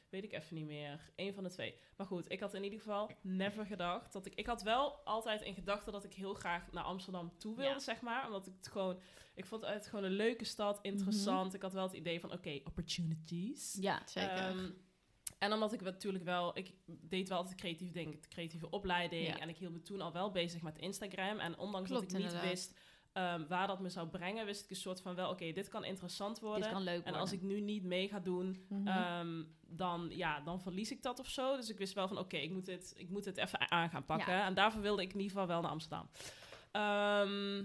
Weet ik even niet meer. Eén van de twee. Maar goed, ik had in ieder geval never gedacht dat ik... Ik had wel altijd in gedachten dat ik heel graag naar Amsterdam toe wilde,
Ja.
zeg maar. Omdat ik het gewoon... Ik vond het gewoon een leuke
Mhm.
stad, interessant. Ik had wel het idee van, oké, opportunities.
Ja.
Zeker.
Ehm, en omdat ik wel- natuurlijk wel, ik deed wel altijd creatief denken, de creatieve opleiding.
Ja.
En ik hield me toen al wel bezig met Instagram. En ondanks
Klopt,
dat ik niet
inderdaad.
wist ehm, waar dat me zou brengen, wist ik een soort van wel, oké, dit kan interessant worden.
Dit kan leuk
en als ik
worden.
nu niet mee ga doen,
Mhm.
ehm, dan, ja, dan verlies ik dat of zo. Dus ik wist wel van, oké, ik moet dit, ik moet dit even a- aan gaan pakken. En daarvoor wilde ik in ieder geval wel naar Amsterdam. Ehm,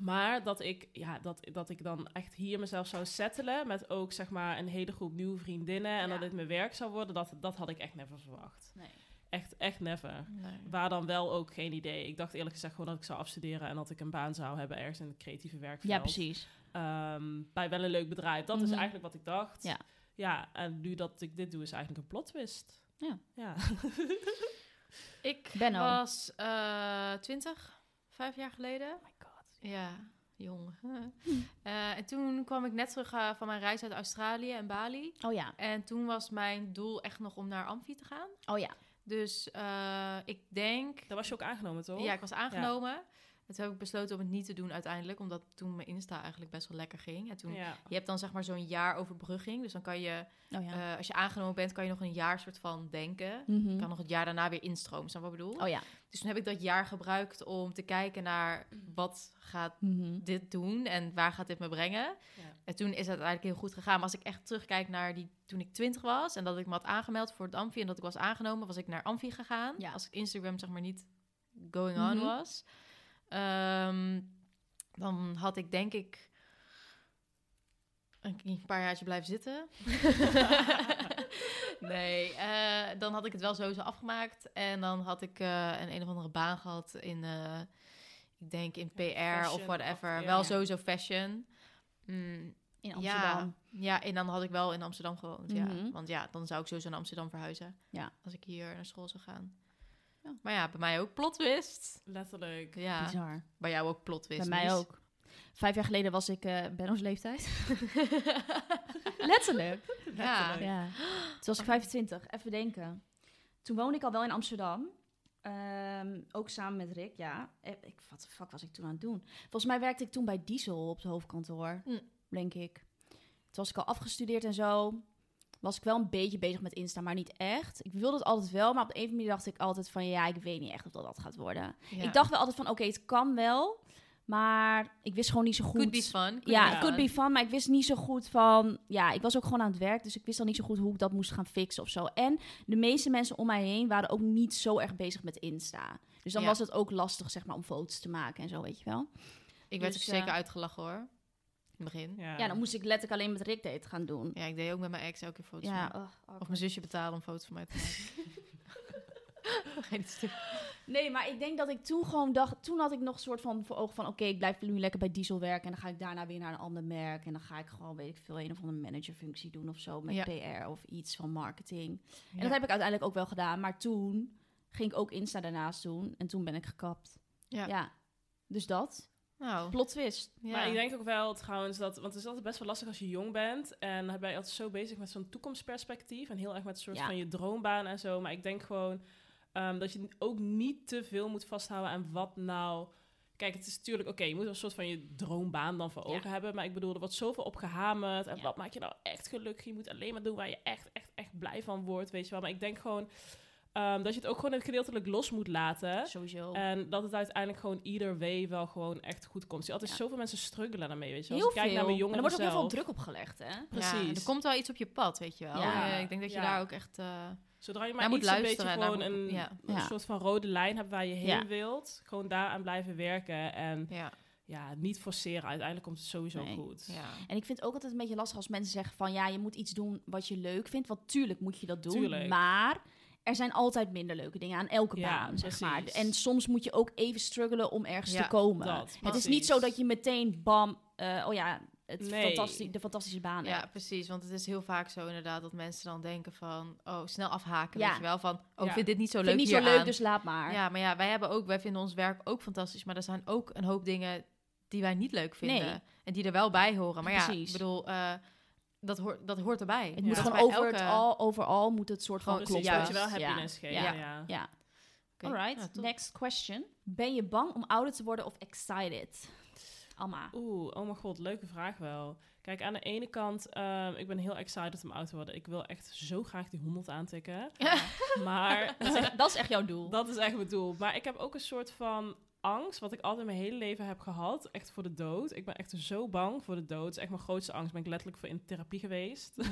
maar dat ik, ja, dat, dat ik dan echt hier mezelf zou settelen met ook zeg maar een hele groep nieuwe vriendinnen en
Ja.
dat dit mijn werk zou worden, dat, dat had ik echt never verwacht.
Nee.
Echt, echt never.
Nee.
Waar dan wel ook geen idee. Ik dacht eerlijk gezegd gewoon dat ik zou afstuderen en dat ik een baan zou hebben ergens in het creatieve werkveld.
Ja, precies.
Ehm, bij wel een leuk bedrijf. Dat is
Mhm.
eigenlijk wat ik dacht.
Ja.
ja, en nu dat ik dit doe is eigenlijk een plot twist.
Ja.
ja. (laughs)
Ik
Benno.
was eh, twintig, 20, vijf jaar geleden. Oh my god. Ja, jong. (laughs) Eh, en toen kwam ik net terug eh, van mijn reis uit Australië en Bali.
Oh ja,
En toen was mijn doel echt nog om naar Amfi te gaan.
oh ja.
Dus eh, ik denk...
Daar was je ook aangenomen, toch?
Ja, ik was aangenomen. En toen heb ik besloten om het niet te doen uiteindelijk. Omdat toen mijn Insta eigenlijk best wel lekker ging. En toen...
Ja.
Je hebt dan zeg maar zo'n jaar overbrugging. Dus dan kan je,
Oh ja.
eh, als je aangenomen bent, kan je nog een jaar soort van denken.
Mhm.
Je kan nog het jaar daarna weer instromen, snap je wat ik bedoel?
Oh ja.
Dus toen heb ik dat jaar gebruikt om te kijken naar wat gaat
Mhm.
dit doen en waar gaat dit me brengen.
Ja.
En toen is het eigenlijk heel goed gegaan. Maar als ik echt terugkijk naar die, toen ik twintig was en dat ik me had aangemeld voor het Amfi en dat ik was aangenomen, was ik naar Amfi gegaan.
Ja.
Als ik Instagram zeg maar niet going on
Mhm.
was. Ehm, dan had ik denk ik een een paar jaartje blijven zitten. (laughs) nee, eh, dan had ik het wel sowieso afgemaakt. En dan had ik eh, een een of andere baan gehad in, eh, ik denk in PR of
fashion,
whatever.
of- ja.
Wel sowieso fashion. Mm,
In Amsterdam.
Ja. ja, en dan had ik wel in Amsterdam gewoond,
Mhm.
ja. Want ja, dan zou ik sowieso naar Amsterdam verhuizen.
Ja.
Als ik hier naar school zou gaan.
Ja.
Maar ja, bij mij ook plot twist.
Letterlijk.
Ja,
Bizar.
bij jou ook plot twist.
Bij mij
Mies. (laughs)
ook. Vijf jaar geleden was ik eh Benno's leeftijd. (laughs) Letterlijk.
Ja.
Letterlijk.
Ja. Toen was ik 25. Even denken. Toen woonde ik al wel in Amsterdam. Ehm, ook samen met Rick, ja. Eh, Ik, wat de fuck was ik toen aan het doen? Volgens mij werkte ik toen bij Diesel op het hoofdkantoor,
Hm.
denk ik. Toen was ik al afgestudeerd en zo. Was ik wel een beetje bezig met Insta, maar niet echt. Ik wilde het altijd wel, maar op een of andere manier dacht ik altijd van... ja, ik weet niet echt of dat dat gaat worden.
Ja.
Ik dacht wel altijd van, oké, het kan wel. Maar ik wist gewoon niet zo goed.
Could be fun. Could
ja,
be
het could
fun.
be fun, maar ik wist niet zo goed van... Ja, ik was ook gewoon aan het werk, dus ik wist al niet zo goed hoe ik dat moest gaan fixen of zo. En de meeste mensen om mij heen waren ook niet zo erg bezig met Insta. Dus dan
Ja.
was het ook lastig, zeg maar, om foto's te maken en zo, weet je wel.
Ik werd
Dus,
ook zeker
eh,
uitgelachen hoor. In het begin. Ja.
Ja.
Ja, dan moest ik letterlijk alleen met Rick date gaan doen.
ik deed ook met mijn ex elke keer foto's.
Ja,
maken.
ugh, awkward.
Of mijn zusje betalen om foto's van mij
(laughs)
te maken. Geen stuk.
Nee, maar ik denk dat ik toen gewoon dacht... Toen had ik nog een soort van voor ogen van... Oké, ik blijf nu lekker bij Diesel werken... en dan ga ik daarna weer naar een ander merk... en dan ga ik gewoon, weet ik veel, een of andere managerfunctie doen of zo... met
Ja.
PR of iets van marketing. En
Ja.
dat heb ik uiteindelijk ook wel gedaan. Maar toen ging ik ook Insta daarnaast doen... en toen ben ik gekapt.
Ja.
Ja. Dus dat.
Nou,
Plot twist.
ja.
Maar ik denk ook wel trouwens dat, want het is altijd best wel lastig als je jong bent. En dan ben je altijd zo bezig met zo'n toekomstperspectief. En heel erg met een soort
Ja.
van je droombaan en zo. Maar ik denk gewoon, Ehm, dat je ook niet te veel moet vasthouden aan wat nou... Kijk, het is natuurlijk... Oké, je moet wel een soort van je droombaan dan voor
Ja.
ogen hebben. Maar ik bedoel, er wordt zoveel op gehamerd. En
Ja.
wat maakt je nou echt gelukkig? Je moet alleen maar doen waar je echt, echt, echt blij van wordt, weet je wel. Maar ik denk gewoon... ehm, dat je het ook gewoon gedeeltelijk los moet laten.
Sowieso.
En dat het uiteindelijk gewoon ieder way wel gewoon echt goed komt. Dus Je altijd
Ja.
zoveel mensen struggelen daarmee, weet je wel.
heel
Als ik kijk
veel.
naar mijn
En er
jongeren
wordt ook heel veel
zelf.
druk op gelegd, hè?
Ja, en
Precies.
er komt wel iets op je pad, weet je wel.
Ja.
Eh, ik denk dat je
Ja.
daar ook echt... eh,
Zodra je
Daar
maar
moet
iets een beetje
luisteren en daar
gewoon
moet-
een,
ja.
een
Ja.
soort van rode lijn hebt waar je heen
Ja.
wilt, gewoon daaraan blijven werken en
ja,
ja, niet forceren. Uiteindelijk komt het sowieso
Nee.
goed.
ja.
En ik vind het ook altijd een beetje lastig als mensen zeggen van ja, je moet iets doen wat je leuk vindt. Want tuurlijk moet je dat doen.
Tuurlijk.
Maar er zijn altijd minder leuke dingen aan elke
Ja,
baan, zeg
precies.
maar. En soms moet je ook even struggelen om ergens
Ja,
te komen.
dat,
het is
precies.
niet zo dat je meteen bam, eh, oh ja, het
Nee.
fantastisch, de fantastische baan
Ja,
hebt.
precies. Want het is heel vaak zo inderdaad dat mensen dan denken van... Oh, snel afhaken,
Ja.
weet je wel. Van, oh, ik
Ja.
vind dit niet zo
Vind
leuk
ik niet zo
hieraan.
leuk, dus laat maar.
Ja, maar ja, wij, hebben ook, wij vinden ons werk ook fantastisch. Maar er zijn ook een hoop dingen die wij niet leuk vinden.
Nee.
En die er wel bij horen. Maar ja,
Precies.
ik bedoel, eh, dat, hoort, dat hoort erbij.
Het moet
Ja.
gewoon
bij
over het
elke-
al, overal moet het soort van
Gewoon
Precies,
kloppen.
klopt.
dat je wel
Ja,
happiness geeft.
Ja.
Ja.
Ja.
Oké.
Alright,
Ja, top.
next question. Ben je bang om ouder te worden of excited? Alma.
Oeh, oh mijn god, leuke vraag wel. Kijk, aan de ene kant, ehm, ik ben heel excited om oud te worden. Ik wil echt zo graag die 100 aantikken.
(laughs)
maar
Dat is echt- dat is echt jouw
(laughs)
doel.
Dat is echt mijn doel. Maar ik heb ook een soort van angst, wat ik altijd mijn hele leven heb gehad. Echt voor de dood. Ik ben echt zo bang voor de dood. Het is echt mijn grootste angst. Ben ik letterlijk voor in therapie geweest. (laughs)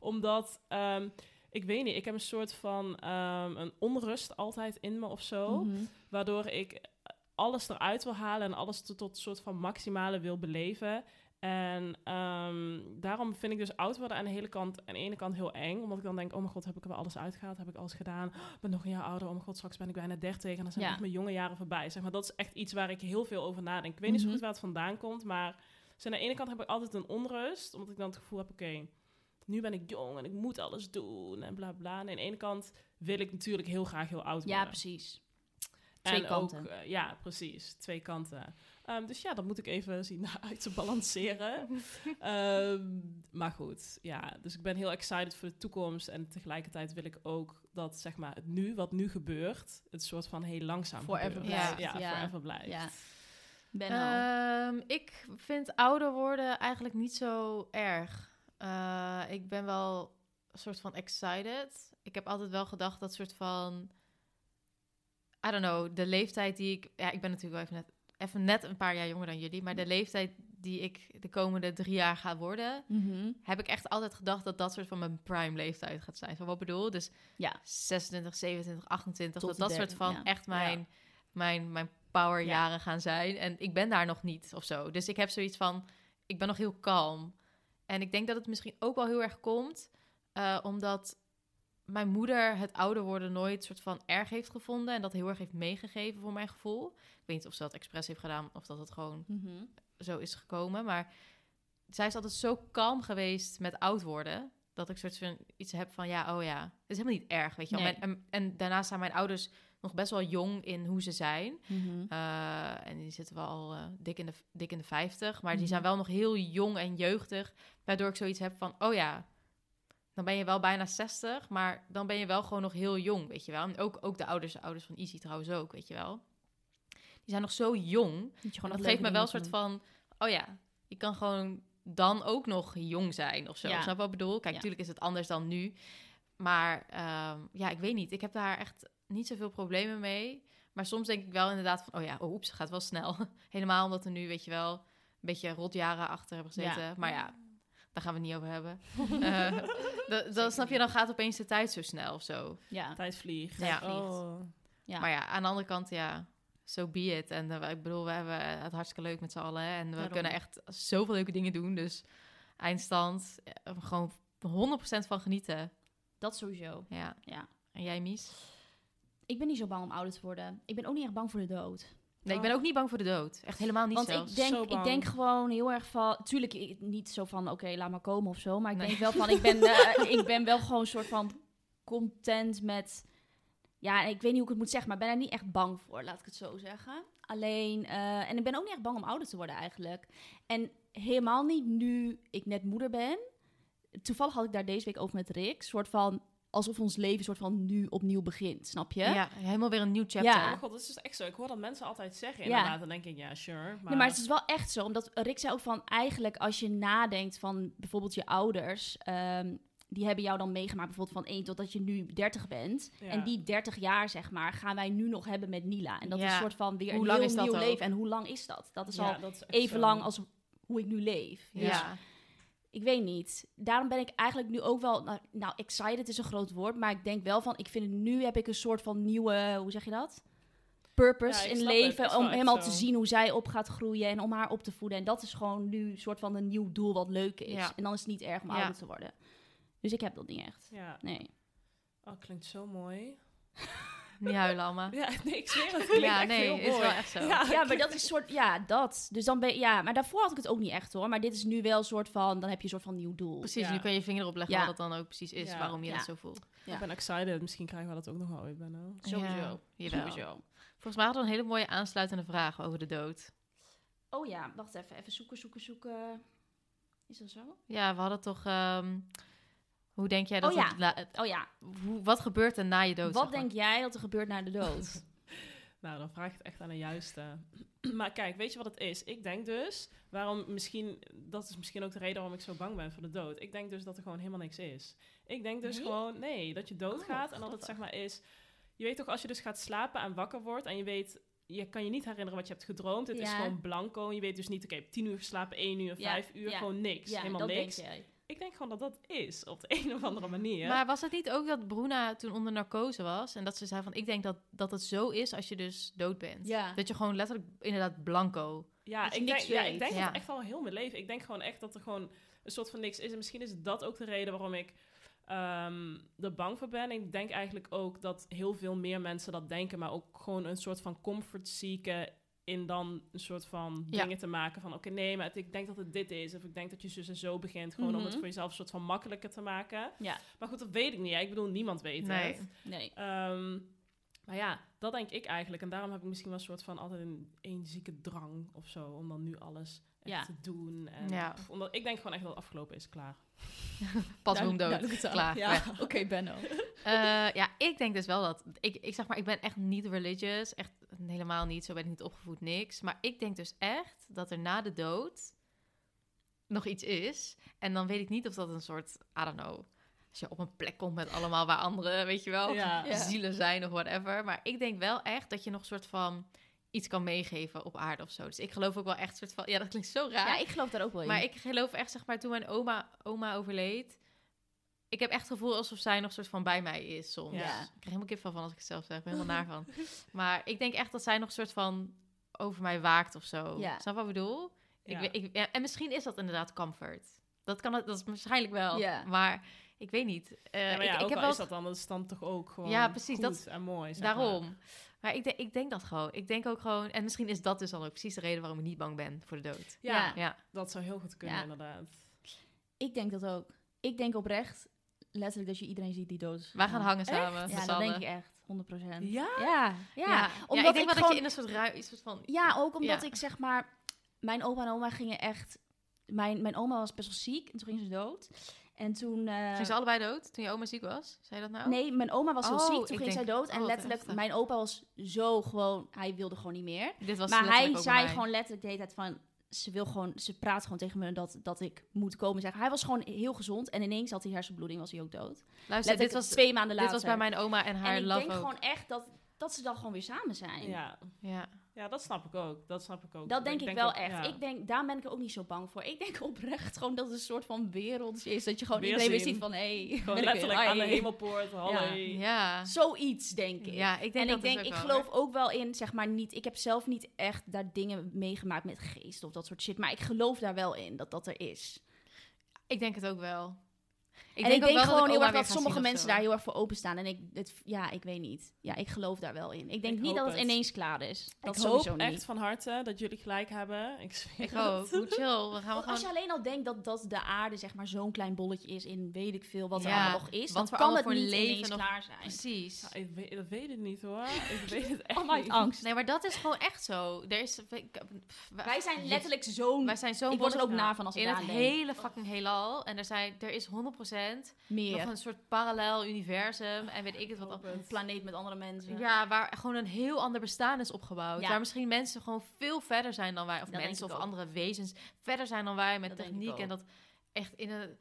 Omdat, ehm, ik weet niet, ik heb een soort van ehm, een onrust altijd in me of zo.
Mhm.
Waardoor ik alles eruit wil halen en alles tot, tot een soort van maximale wil beleven. En ehm, daarom vind ik dus oud worden aan de, hele kant, aan de ene kant heel eng. Omdat ik dan denk, oh mijn god, heb ik er wel alles uitgehaald? Heb ik alles gedaan? Ik ben nog een jaar ouder. Oh mijn god, straks ben ik bijna dertig. En dan zijn
Ja.
echt mijn jonge jaren voorbij. Zeg maar, dat is echt iets waar ik heel veel over nadenk. Ik weet niet zo
Mhm.
goed waar het vandaan komt. Maar dus aan de ene kant heb ik altijd een onrust. Omdat ik dan het gevoel heb, oké, nu ben ik jong en ik moet alles doen. En bla bla. En aan de ene kant wil ik natuurlijk heel graag heel oud worden.
Ja, precies. Twee
en
kanten.
Ook, eh, ja, precies. Twee kanten. Ehm, dus ja, dat moet ik even (laughs) zien uit te balanceren.
(laughs)
Ehm, maar goed, ja. Dus ik ben heel excited voor de toekomst. En tegelijkertijd wil ik ook dat, zeg maar, het nu, wat nu gebeurt, het soort van heel langzaam
Forever
gebeurt.
blijft,
Ja,
ja.
forever blijft.
Ja. Ben al.
Ehm, ik vind ouder worden eigenlijk niet zo erg. Eh, ik ben wel een soort van excited. Ik heb altijd wel gedacht dat soort van... I don't know, de leeftijd die ik... Ja, ik ben natuurlijk wel even net, even net een paar jaar jonger dan jullie. Maar de leeftijd die ik de komende drie jaar ga worden...
Mhm.
heb ik echt altijd gedacht dat dat soort van mijn prime leeftijd gaat zijn. Van wat ik bedoel? Dus
Ja.
26, 27, 28.
Tot
dat dat
de-
soort van
ja.
echt mijn, mijn, mijn powerjaren
Ja.
gaan zijn. En ik ben daar nog niet of zo. Dus ik heb zoiets van, ik ben nog heel kalm. En ik denk dat het misschien ook wel heel erg komt... eh, omdat mijn moeder het ouder worden nooit soort van erg heeft gevonden... en dat heel erg heeft meegegeven voor mijn gevoel. Ik weet niet of ze dat expres heeft gedaan of dat het gewoon
Mhm.
zo is gekomen. Maar zij is altijd zo kalm geweest met oud worden. Dat ik soort van iets heb van ja, oh ja, het is helemaal niet erg, weet je wel.
Nee.
En, en, en daarnaast zijn mijn ouders nog best wel jong in hoe ze zijn.
Mhm.
Eh, en die zitten wel al eh, dik, in de, dik in de 50. Maar die
Mhm.
zijn wel nog heel jong en jeugdig. Waardoor ik zoiets heb van, oh ja, dan ben je wel bijna 60. Maar dan ben je wel gewoon nog heel jong, weet je wel. En ook, ook de ouders, de ouders van Izzy trouwens ook, weet je wel. Die zijn nog zo jong.
Moet je gewoon
Maar dat
nog
geeft
leuke
me wel een soort
dingen
van, oh ja, je kan gewoon dan ook nog jong zijn of zo.
Ja.
Snap je wat ik bedoel? Kijk,
Ja.
natuurlijk is het anders dan nu. Maar ehm, ja, ik weet niet. Ik heb daar echt niet zoveel problemen mee. Maar soms denk ik wel inderdaad van, oh ja, oh, oeps, het gaat wel snel. (laughs) Helemaal omdat er nu, weet je wel, een beetje rotjaren achter hebben gezeten.
Ja.
Maar ja, daar gaan we het niet over
(laughs)
hebben. Eh, (laughs) dat- dan snap je, dan gaat opeens de tijd zo snel of zo.
doen. Ja.
Tijd vliegt.
Ja.
Oh.
Ja.
Maar ja, aan de andere kant, ja, so be it. En eh, ik bedoel, we hebben het hartstikke leuk met z'n allen. En we
Daarom.
kunnen echt zoveel leuke dingen doen. Dus eindstand, eh, gewoon 100% van genieten.
Dat sowieso.
Ja.
Ja.
En jij, Mies?
Ik ben niet zo bang om ouder te worden. Ik ben ook niet echt bang voor de dood.
Nee,
Oh.
ik ben ook niet bang voor de dood. Echt helemaal niet
Want
zelfs.
ik denk,
Zo
ik
bang.
denk gewoon heel erg van... Tuurlijk, ik- niet zo van, oké, laat maar komen of zo. Maar ik
Nee.
denk wel van, ik
(laughs)
ben, eh, ik ben wel gewoon een soort van content met... Ja, ik weet niet hoe ik het moet zeggen, maar ik ben er niet echt bang voor, laat ik het zo zeggen. Alleen, eh, en ik ben ook niet echt bang om ouder te worden eigenlijk. En helemaal niet nu ik net moeder ben. Toevallig had ik daar deze week over met Rick. soort van, alsof ons leven soort van nu opnieuw begint, snap je?
Ja? helemaal weer een nieuw chapter.
Ja.
Oh god, dat is dus echt zo. Ik hoor dat mensen altijd zeggen
Ja.
inderdaad. Dan denk ik, ja, sure. Maar,
Nee, maar het is wel echt zo, omdat Rick zei ook van eigenlijk als je nadenkt van bijvoorbeeld je ouders, ehm, die hebben jou dan meegemaakt bijvoorbeeld van 1 totdat je nu 30 bent.
Ja.
En die 30 jaar zeg maar gaan wij nu nog hebben met Nila. En dat is
Ja.
een soort van weer
Hoe
een
lang
heel
is dat
nieuw
ook?
leven. En hoe lang is dat? Dat is
Ja,
al
dat is echt
even
zo.
lang als hoe ik nu leef. Dus
Ja.
ik weet niet. Daarom ben ik eigenlijk nu ook wel, nou, nou excited is een groot woord, maar ik denk wel van, ik vind het nu heb ik een soort van nieuwe, hoe zeg je dat? Purpose
Ja, ik
in
snap het. Het
leven
is wel
om
echt
helemaal
zo.
te zien hoe zij op gaat groeien en om haar op te voeden. En dat is gewoon nu een soort van een nieuw doel wat leuk is.
Ja.
En dan is het niet erg om
Ja.
ouder te worden. Dus ik heb dat niet echt.
Ja,
Nee.
oh, klinkt zo mooi.
Niet huilen,
(laughs)
allemaal.
Ja, nee, ik zweer het. klinkt
Ja,
echt heel
nee, is
mooi.
wel echt zo.
Ja,
Ja, maar dat is soort, ja, dat. Dus dan ben ja, maar daarvoor had ik het ook niet echt hoor. Maar dit is nu wel een soort van, dan heb je een soort van nieuw doel.
Precies,
Ja.
nu kun je je vinger erop leggen
Ja.
wat dat dan ook precies is,
Ja.
waarom je
Ja.
dat zo voelt.
Ja.
Ik ben excited. Misschien krijgen we dat ook nog wel weer bijna.
Sowieso. Jawel.
Sowieso.
Volgens mij hadden we een hele mooie aansluitende vraag over de dood.
Oh ja, wacht even. Even zoeken, zoeken, zoeken. Is dat zo?
Ja, we hadden toch... ehm, hoe denk jij dat...
Oh ja.
het la- het-
Oh ja,
hoe, wat gebeurt er na je dood?
Wat
zeg maar?
denk jij dat er gebeurt na de
(laughs)
dood?
Nou, dan vraag ik het echt aan de juiste. (clears throat) Maar kijk, weet je wat het is? Ik denk dus, waarom misschien, dat is misschien ook de reden waarom ik zo bang ben voor de dood. Ik denk dus dat er gewoon helemaal niks is. Ik denk dus
Nee? Oh,
gewoon, nee, dat je doodgaat en dat het
grappig.
zeg maar is. Je weet toch, als je dus gaat slapen en wakker wordt en je weet, je kan je niet herinneren wat je hebt gedroomd. Het is
Ja.
gewoon blanco. en Je weet dus niet, oké, ik heb tien uur geslapen, één uur,
Ja,
vijf uur,
ja,
gewoon niks.
ja,
helemaal
dat
niks.
denk jij.
Ik denk gewoon dat dat is, op de (laughs) een of andere manier.
Maar was het niet ook dat Bruna toen onder narcose was en dat ze zei van ik denk dat, dat het zo is als je dus dood bent?
Ja.
Dat je gewoon letterlijk inderdaad blanco.
Ja,
Dat je
ik denk,
niks
ja,
weet.
ik denk
Ja.
dat echt al heel mijn leven. Ik denk gewoon echt dat er gewoon een soort van niks is. En misschien is dat ook de reden waarom ik ehm, er bang voor ben. Ik denk eigenlijk ook dat heel veel meer mensen dat denken, maar ook gewoon een soort van comfort seeken in dan een soort van
Ja.
dingen te maken van oké nee maar het- ik denk dat het dit is of ik denk dat je zus en zo begint gewoon om het
Mhm.
voor jezelf een soort van makkelijker te maken
Ja.
maar goed dat weet ik niet ja. ik bedoel niemand weet
Nee.
het
Nee.
Ehm, maar ja, dat denk ik eigenlijk. En daarom heb ik misschien wel een soort van altijd een, een zieke drang of zo. Om dan nu alles echt
Ja.
te doen. En
Ja.
pff, omdat, ik denk gewoon echt dat het afgelopen is klaar.
Pas
Nou,
boem dood.
duidelijk taal.
Klaar.
Ja,
weg.
oké Benno.
Eh, ja, ik denk dus wel dat. Ik, ik zeg maar, ik ben echt niet religious. Echt helemaal niet. Zo ben ik niet opgevoed, niks. Maar ik denk dus echt dat er na de dood nog iets is. En dan weet ik niet of dat een soort, I don't know. Als je op een plek komt met allemaal waar anderen, weet je wel,
Ja.
Ja.
zielen zijn of whatever. Maar ik denk wel echt dat je nog een soort van iets kan meegeven op aarde of zo. Dus ik geloof ook wel echt een soort van. Ja, dat klinkt zo raar.
Ja, ik geloof daar ook wel in.
Maar ik geloof echt, zeg maar, toen mijn oma, oma overleed... Ik heb echt het gevoel alsof zij nog soort van bij mij is soms.
Ja.
Ik krijg helemaal kipvel van als ik het zelf zeg. Ik ben helemaal naar van. Maar ik denk echt dat zij nog soort van over mij waakt of zo.
Ja.
Snap je wat ik bedoel? Ik,
Ja.
weet- ik, ja, en misschien is dat inderdaad comfort. Dat kan het, dat is waarschijnlijk wel.
Ja.
Maar ik weet niet. Eh,
Ja, maar ja,
ik, ik
ook
heb
al
wel
is dat dan, dat is dan toch ook gewoon
Ja, precies,
goed
dat is-
en mooi. zeg maar.
Daarom. Maar, ik, denk, ik denk dat gewoon. Ik denk ook gewoon... En misschien is dat dus dan ook precies de reden waarom ik niet bang ben voor de dood.
Ja,
Ja.
Ja.
dat zou heel goed kunnen
Ja.
inderdaad.
Ik denk dat ook. Ik denk oprecht, letterlijk, dat je iedereen ziet die dood is.
Wij gaan hangen
Echt?
samen.
Ja,
met
dat
allen.
denk ik echt. 100
Ja?
Ja, ja.
ik
Omdat
denk
ik
wel dat
gewoon-
je in een soort ruim, iets soort van.
Ja, ook omdat
Ja.
ik zeg maar... Mijn opa en oma gingen echt... Mijn, mijn oma was best wel ziek en toen ging ze dood. En toen... eh,
Zijn ze allebei dood toen je oma ziek was? Zei je dat nou?
Nee, mijn oma was heel
Oh,
ziek,
ik
toen ging zij
denk-
dood.
oh,
En
wat
letterlijk,
heftig.
mijn opa was zo gewoon... Hij wilde gewoon niet meer.
Dit was
maar
letterlijk
hij
ook
zei
bij mij.
gewoon letterlijk de hele tijd van... Ze, wil gewoon, ze praat gewoon tegen me dat, dat ik moet komen. Zeg. Hij was gewoon heel gezond. En ineens had hij hersenbloeding, was hij ook dood.
Luister,
Letterlijk
dus dit was,
twee
dit
maanden later.
was bij mijn oma en haar
En ik
love
denk
ook.
gewoon echt dat, dat ze dan gewoon weer samen zijn.
Ja.
Ja.
ja, dat snap ik ook. Dat snap ik ook.
Dat denk ik, wel
ook-
echt.
ja.
Ik denk, daar ben ik er ook niet zo bang voor. Ik denk (laughs) oprecht gewoon dat het een soort van wereld is. Dat je gewoon
Weer
iedereen weer
zien.
ziet van... Hé, hey, (laughs)
Gewoon letterlijk aan de
hi.
hemelpoort, hallo.
Ja.
Zoiets, denk ik.
ja, ik denk
en
dat
ik
dus
denk,
ook
ik
wel,
geloof ook wel in, zeg maar niet. Ik heb zelf niet echt daar dingen meegemaakt met geest of dat soort shit. Maar ik geloof daar wel in dat dat er is.
hoor. Ik denk het ook wel.
en ik
ook
denk
wel
gewoon
ik
heel
oma
erg
weer
dat
ga
sommige
zien of
mensen
zo.
daar heel erg voor openstaan. En ik, het, ja, ik weet niet. Ja, ik geloof daar wel in. Ik denk
Ik
niet
hoop
dat het
het.
ineens klaar is. Dat
ik hoop
sowieso niet.
echt van harte dat jullie gelijk hebben. Ik zweer
Ik
(laughs)
ook.
het.
Hoe chill. We gaan we
Want als je
gewoon...
alleen al denkt dat, dat de aarde zeg maar zo'n klein bolletje is in weet ik veel wat er
Ja,
allemaal nog is,
wat
dan
voor
kan
allemaal
het
voor
niet
leven
ineens
nog-
klaar
(laughs)
zijn.
Precies.
Ja, ik weet, dat weet ik niet hoor. Ik weet het echt
Oh, my
niet.
angst.
Nee, maar dat is gewoon echt zo. Er is... ik- pff,
Wij zijn letterlijk zo'n...
Wij zijn zo'n
ik word er ook
bolletje-
naar van als ik
in het
daar aan denk.
hele fucking heelal. En er, zijn, er is 100% bent. Nog
Meer.
een soort parallel universum en weet ik het wat.
Op een planeet met andere mensen.
Ja, waar gewoon een heel ander bestaan is opgebouwd.
Ja.
Waar misschien mensen gewoon veel verder zijn dan wij. Of
Dat denk
mensen
ik
of
ook.
andere wezens verder zijn dan wij met
Dat denk ik
techniek. En
ook.
dat echt in een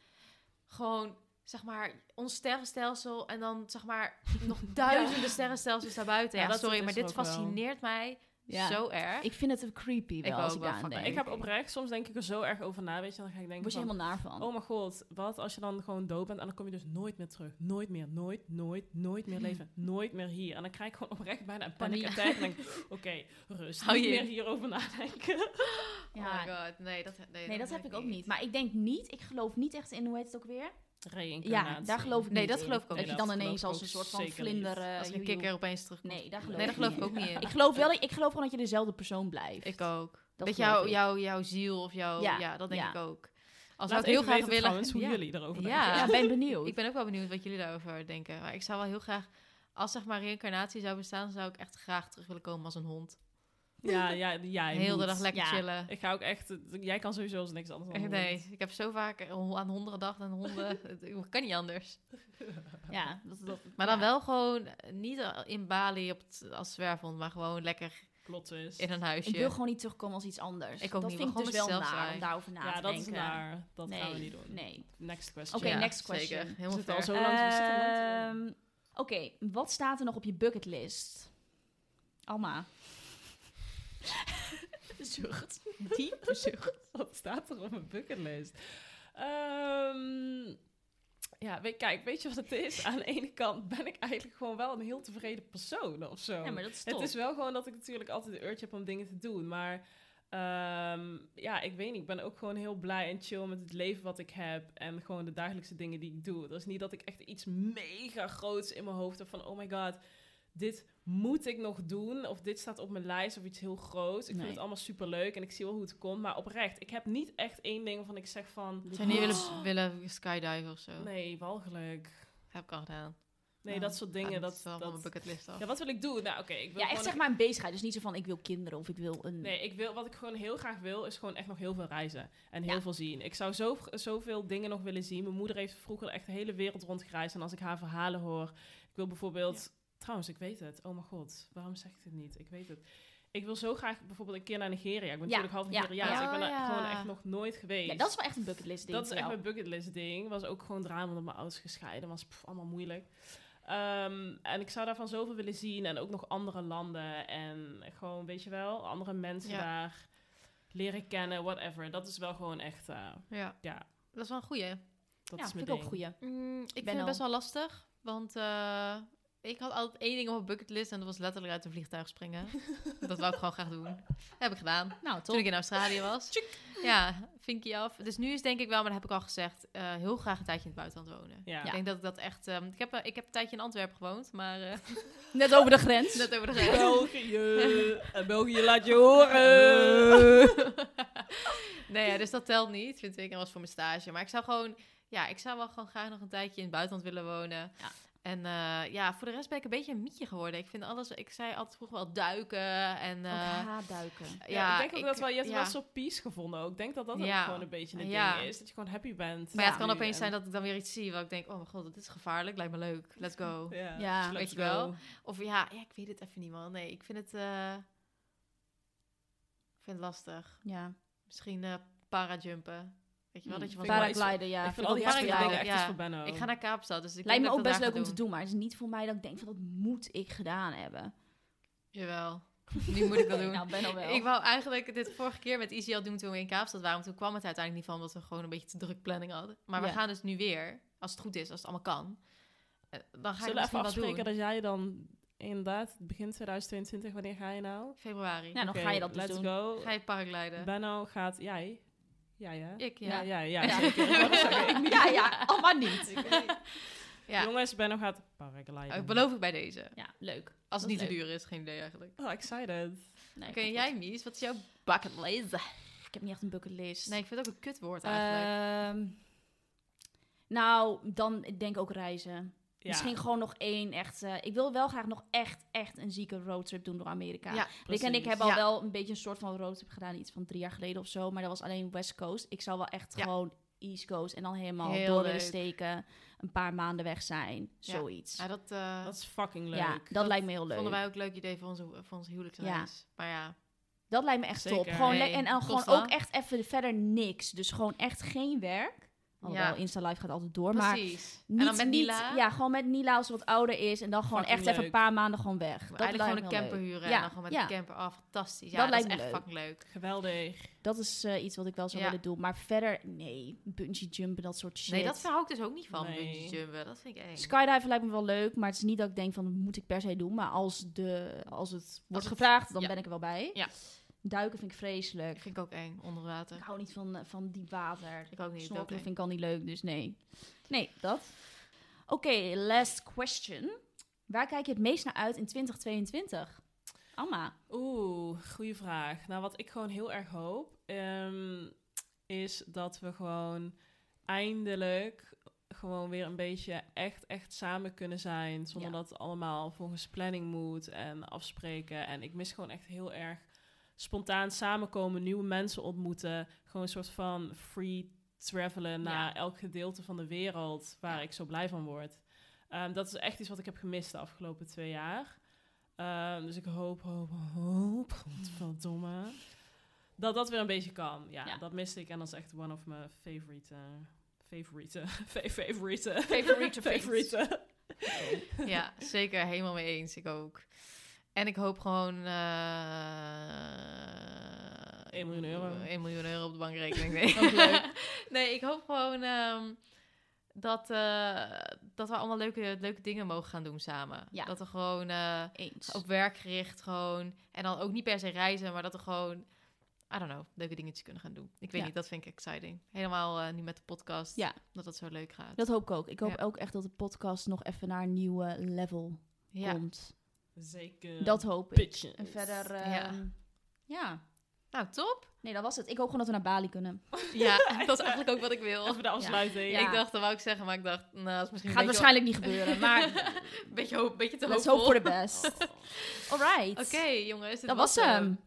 gewoon, zeg maar, ons sterrenstelsel. En dan zeg maar nog
(laughs)
duizenden sterrenstelsels daarbuiten.
Ja,
Ja,
dat
sorry,
is
maar dit
ook wel.
fascineert mij
Ja.
zo erg.
Ik vind het creepy wel
Ik
als
ook
ik
wel,
daar aan
fuck,
denk.
Ik heb oprecht, soms denk ik er zo erg over na, weet je. Dan ga ik denken
Word je
van,
helemaal naar van.
oh mijn god, wat als je dan gewoon dood bent en dan kom je dus nooit meer terug. Nooit meer, nooit, nooit, nooit meer
(laughs)
leven. Nooit meer hier. En dan krijg ik gewoon oprecht bijna een
Paniek.
paniekattack. En denk ik,
(laughs)
oké, rust.
Hou
niet
je in.
meer hierover
(laughs)
nadenken.
Oh
ja.
my god, nee, dat, nee,
nee, dat heb ik ook niet. Maar ik denk niet, ik geloof niet echt in, hoe heet het ook weer?
Reïncarnatie.
Ja, daar geloof ik
Nee,
niet
dat
in.
geloof ik ook
Dat
niet.
je dan
Dat
ineens
geloof
als
ik
een
ook
soort van
zeker
vlinder... eh,
Als een
joejoe.
kikker opeens terugkomt.
Nee, daar geloof,
Nee, daar geloof ik
niet
ook niet in.
Ik geloof wel, ik geloof gewoon dat je dezelfde persoon blijft.
Ik ook.
Dat
dat
geloof
jouw,
ik.
jouw, jouw ziel of jouw... Ja,
Ja,
dat denk
ja.
ik ook. Als zou
Laat
ik heel
even
graag
weten
willen...
trouwens hoe
Ja.
jullie daarover denken.
Ja.
Ja, ben benieuwd.
Ik ben ook wel benieuwd wat jullie daarover denken. Maar ik zou wel heel graag... Als zeg maar reïncarnatie zou bestaan, zou ik echt graag terug willen komen als een hond.
Ja, ja, ja.
(laughs)
je
heel de
moet.
dag lekker
Ja.
chillen.
Ik ga ook echt... Jij kan sowieso als niks anders dan een
nee,
hond.
ik heb zo vaak aan honden gedacht en (laughs) honden. het kan niet anders.
Ja, dat, dat,
Maar dan
ja.
wel gewoon eh, niet in Bali op het, als zwerfhond, maar gewoon lekker
Plot twist.
in een huisje.
Ik wil gewoon niet terugkomen als iets anders.
Ik ook
dat
niet,
vind ik
we
dus
gaan
wel
zelf
naar
zijn.
om daarover na
ja,
te
dat
denken.
is naar. Dat
nee,
gaan we niet doen.
Nee.
Next question.
Oké,
Ja,
next question.
Zeker.
Is
Helemaal
het al
ver.
zo lang? we zitten al lang te doen.
Ehm, Oké, wat staat er nog op je bucketlist?
(laughs)
Alma. Zucht. Diep zucht.
(laughs) Wat staat er op mijn bucketlist? Ehm, ja, weet, kijk, weet je wat het is? Aan de ene kant ben ik eigenlijk gewoon wel een heel tevreden persoon of zo.
Ja, maar dat is
het
top.
is wel gewoon dat ik natuurlijk altijd de urge heb om dingen te doen, maar... ehm, ja, ik weet niet. Ik ben ook gewoon heel blij en chill met het leven wat ik heb. En gewoon de dagelijkse dingen die ik doe. Dat is niet dat ik echt iets mega groots in mijn hoofd heb van... Oh my god, dit moet ik nog doen. Of dit staat op mijn lijst of iets heel groots. Ik
Nee.
vind het allemaal super leuk en ik zie wel hoe het komt. Maar oprecht, ik heb niet echt één ding waarvan ik zeg van...
Zou je niet willen, willen skydiven of zo?
Nee, walgelijk.
Heb ik al gedaan.
Nee,
Ja,
dat soort dingen.
Ah,
dat,
is wel van mijn
dat...
bucketlist af.
Ja, wat wil ik doen? Nou, oké. ik wil
Ja, echt
gewoon
zeg
een-
maar een bezigheid. Dus niet zo van ik wil kinderen of ik wil een...
Nee, ik wil, wat ik gewoon heel graag wil, is gewoon echt nog heel veel reizen. En heel
Ja.
veel zien. Ik zou zo, zoveel dingen nog willen zien. Mijn moeder heeft vroeger echt de hele wereld rondgereisd. En als ik haar verhalen hoor... Ik wil bijvoorbeeld... Trouwens, ik weet het. Oh mijn god, waarom zeg ik dit niet? Ik weet het. Ik wil zo graag bijvoorbeeld een keer naar Nigeria. Ik ben
Ja,
natuurlijk half
ja,
Nigeriaans.
ja.
ik ben
Oh,
daar
ja.
gewoon echt nog nooit geweest.
Ja, dat is wel echt een bucketlist ding
Dat is
voor
echt
jou.
mijn bucketlist ding. Was ook gewoon drama omdat mijn ouders gescheiden was. Pff, allemaal moeilijk. Ehm, en ik zou daarvan zoveel willen zien. En ook nog andere landen. En gewoon, weet je wel, andere mensen
Ja.
daar leren kennen, whatever. Dat is wel gewoon echt, eh,
Ja.
Ja.
Dat is wel een goeie.
dat
ja,
is mijn
vind ik
ding.
ook een goeie.
Mm, ik vind
ben
het
al-
best wel lastig, want eh, ik had altijd één ding op mijn bucketlist en dat was letterlijk uit een vliegtuig
(laughs)
springen. dat wou ik gewoon graag doen. Heb ik gedaan.
Nou,
Toen
toch?
ik in Australië was. Ja, vinkje af. Dus nu is denk ik wel, maar dat heb ik al gezegd, eh, heel graag een tijdje in het buitenland wonen.
Ja.
Ik denk dat ik dat echt... ehm, ik, heb, eh, ik heb een tijdje in Antwerpen gewoond, maar eh, (laughs)
Net over de grens.
net
(laughs)
over de grens.
België, en België laat je (laughs) horen.
(laughs) nee, ja, dus dat telt niet, vind ik. En was voor mijn stage. Maar ik zou gewoon, ja, ik zou wel gewoon graag nog een tijdje in het buitenland willen wonen.
Ja.
En eh, ja, voor de rest ben ik een beetje een mietje geworden. Ik vind alles, ik zei altijd vroeger wel duiken en...
Ook
eh,
haatduiken.
Ja, ik denk ook dat wel, je hebt wel een soort peace gevonden ook. Ik denk dat dat ook
Ja.
gewoon een beetje het
Ja.
ding is. Dat je gewoon happy bent.
Maar ja, het
nu
kan opeens
en-
zijn dat ik dan weer iets zie waar ik denk, oh mijn god, dit is gevaarlijk, lijkt me leuk, let's go.
(laughs) Ja,
Ja.
dus let's
Weet je wel.
go.
Of ja, ja, ik weet het even niet man. Nee, ik vind het, eh, ik vind het lastig.
Ja.
Misschien eh parajumpen. Weet je wel,
Mm,
dat je van...
vind ik wel iets-
Paragliden, ja.
ik vind al
ook
die
best
happy
happy
voor jou.
dingen echt
ja.
iets voor Benno.
Ik ga naar Kaapstad, dus ik
Lijkt me
denk dat
ook
ik
best
dat
leuk
daar
om
ga
te
doen.
doen, maar het is niet voor mij dat ik denk van dat moet ik gedaan hebben.
Jawel, nu moet ik
(laughs)
dat doen.
Nou, ben al wel.
Ik wou eigenlijk dit vorige keer met Easy al doen toen we in Kaapstad waren. maar Toen kwam het uiteindelijk niet van, omdat we gewoon een beetje te druk planning hadden. Maar we
Ja.
gaan dus nu weer, als het goed is, als het allemaal kan. Eh, Dan ga ik
Zullen we
misschien
even
wat doen.
afspreken dat jij dan inderdaad begin 2022, wanneer ga je nou?
Februari.
Ja, dan
Oké,
ga je dat dus
let's
doen.
go.
Ga je paragliden?
Benno gaat, jij? Jij hè?
Ik, ja.
Ja, ja, ja.
Ja.
zeker. Ik wou net zeggen, ik niet.
Ja, ja,
Oh,
allemaal niet.
(laughs) Ja.
Jongens, Benno gaat paragliden.
Oh, ik beloof ik bij deze.
Ja, leuk.
Als het niet
is
te
leuk.
duur is, geen idee eigenlijk.
Oh, excited.
Nee,
Oké, en
goed.
jij Mies, wat is jouw bucketlist?
Ik heb niet echt een bucketlist.
Nee, ik vind het ook een kutwoord eigenlijk.
Ehm, nou, dan ik denk ook reizen.
Ja.
Misschien gewoon nog één echt... eh, ik wil wel graag nog echt, echt een zieke roadtrip doen door Amerika.
ja,
Rick en ik
precies.
hebben al
Ja.
wel een beetje een soort van roadtrip gedaan. Iets van drie jaar geleden of zo. Maar dat was alleen West Coast. Ik zou wel echt
Ja.
gewoon East Coast en dan helemaal
Heel
door willen
leuk.
steken. Een paar maanden weg zijn,
Ja.
zoiets.
Ja,
Ja,
dat, eh,
Dat is fucking leuk.
dat, lijkt me heel leuk.
vonden wij ook een leuk idee voor onze, voor onze huwelijksreis. Maar ja,
Dat lijkt me echt top.
Zeker.
Gewoon
Nee,
lekker en dan
kost
gewoon ook
wel.
echt even verder niks. Dus gewoon echt geen werk. Alhoewel,
Ja.
Insta Live gaat altijd door, maar
precies.
niet,
en dan met
niet-
Nila.
ja, gewoon met Nila als ze wat ouder is en dan gewoon
Fucking
echt even een
leuk.
paar maanden gewoon weg. Dat
eigenlijk
lijkt
gewoon een
me heel
camper
leuk.
huren en
Ja,
dan gewoon met
ja.
de camper af. Fantastisch. Ja,
Dat
dat,
lijkt
is
me
echt
leuk.
fucking leuk.
Geweldig.
Dat is eh, iets wat ik wel zou
Ja.
willen doen, maar verder nee, bungee jumpen dat soort shit.
Nee, dat hou ik dus ook niet van,
Nee.
bungee jumpen. Dat vind ik eng.
Skydiven lijkt me wel leuk, maar het is niet dat ik denk van dat moet ik per se doen. Maar als, de, als het wordt
het-
gevraagd, dan
ja.
ben ik er wel bij.
Ja.
Duiken vind ik vreselijk.
vind ik ook eng, onder
Ik
water.
hou niet van, eh, van diep water.
Ik ook niet. dat
Snorkelen
ook
vind ik al niet leuk, dus nee. Nee, dat. Oké, last question. Waar kijk je het meest naar uit in 2022? Amma.
Oeh, goede vraag. Nou, wat ik gewoon heel erg hoop, ehm, is dat we gewoon eindelijk gewoon weer een beetje echt, echt samen kunnen zijn. Zonder
Ja.
dat het allemaal volgens planning moet en afspreken. En ik mis gewoon echt heel erg spontaan samenkomen, nieuwe mensen ontmoeten. Gewoon een soort van free travelen naar elk gedeelte van de wereld waar ik zo blij van word. Ehm, dat is echt iets wat ik heb gemist de afgelopen twee jaar. Ehm, dus ik hoop, hoop, hoop, godverdomme, dat dat weer een beetje kan. Ja,
Ja.
dat miste ik en dat is echt one of my favorite, eh, favorite, (laughs) fa-
(laughs)
favorite,
Favorite things.
favorite.
Ja, zeker. Helemaal mee eens. Ik ook. En ik hoop gewoon... eh
1 miljoen euro.
1 miljoen euro op de
(laughs)
bankrekening. Nee,
Ook leuk.
nee ik hoop gewoon ehm, dat, eh, dat we allemaal leuke, leuke dingen mogen gaan doen samen.
Ja.
Dat we gewoon... eh,
Eens.
op werk gericht gewoon. En dan ook niet per se reizen, maar dat we gewoon, I don't know, leuke dingetjes kunnen gaan doen. Ik weet
Ja.
niet, dat vind ik exciting. Helemaal eh, nu met de podcast,
Ja.
dat dat zo leuk gaat.
Dat hoop ik ook. Ik hoop
Ja.
ook echt dat de podcast nog even naar een nieuwe level
ja.
komt.
Zeker.
Dat hoop ik.
pitje.
En verder,
Ja.
ehm, ja.
Nou,
(laughs)
top.
Nee, dat was het. Ik hoop gewoon dat we naar Bali kunnen.
Ja, dat is eigenlijk ook wat ik wil.
Even de afsluiting.
Ja.
Ik dacht, dat wou ik zeggen, maar ik dacht, nou, dat is misschien
Gaat
een beetje,
waarschijnlijk niet
(laughs)
gebeuren, maar
een beetje, hoop, beetje te
let's
hoopvol.
hope for the best.
(laughs)
Oh.
Alright.
Oké, jongens, dit
Dat was eh, hem.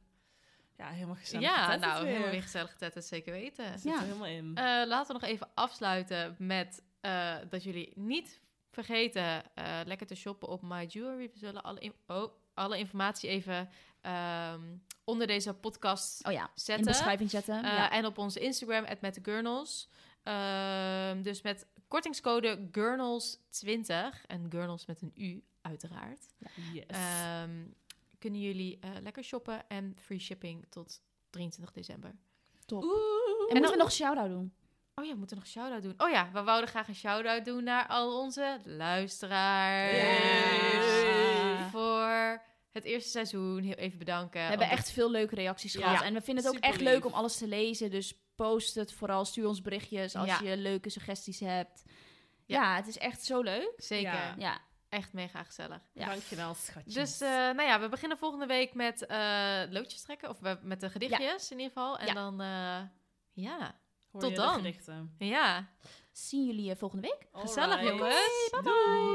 Ja, helemaal gezellig.
Ja,
Dat is
nou,
het
helemaal
weer.
weer gezellig tetten, zeker weten.
Zit er
Ja.
helemaal in.
Eh, laten we nog even afsluiten met eh, dat jullie niet vergeten eh, lekker te shoppen op My Jewelry. We zullen alle, in- oh, alle informatie even ehm, onder deze podcast
Oh ja, in de
zetten.
beschrijving zetten.
Eh,
ja.
En op onze Instagram, at met de Gurnals. Ehm, dus met kortingscode Gurnals20 en Gurnals met een U, uiteraard.
Yes.
Ehm, kunnen jullie eh, lekker shoppen en free shipping tot 23 december.
Top.
Oeh.
En moeten
dan-
we nog een shout-out doen?
Oh ja, we moeten nog een shout-out doen. Oh ja, we wouden graag een shout-out doen naar al onze luisteraars.
Ah.
Yes.
Voor het eerste seizoen. Heel even bedanken. Oh,
We hebben
Omdat-
echt veel leuke reacties
Ja.
gehad.
Ja.
En we vinden het ook echt
Superlief.
leuk om alles te lezen. Dus post het vooral. Stuur ons berichtjes als
Ja.
je leuke suggesties hebt. Ja.
Ja.
het is echt zo leuk.
Zeker.
Ja.
Ja,
Echt mega gezellig.
Ja.
Dankjewel, schatjes.
Dus eh, nou ja, we beginnen volgende week met eh, loodjes trekken. Of we- met de gedichtjes in ieder geval. En
Ja.
dan, eh, ja.
Hoor
tot
je de
dan.
gedichten?
Ja.
zien jullie eh, volgende week.
Oh,
Gezellig,
Alright.
jongens.
Doei.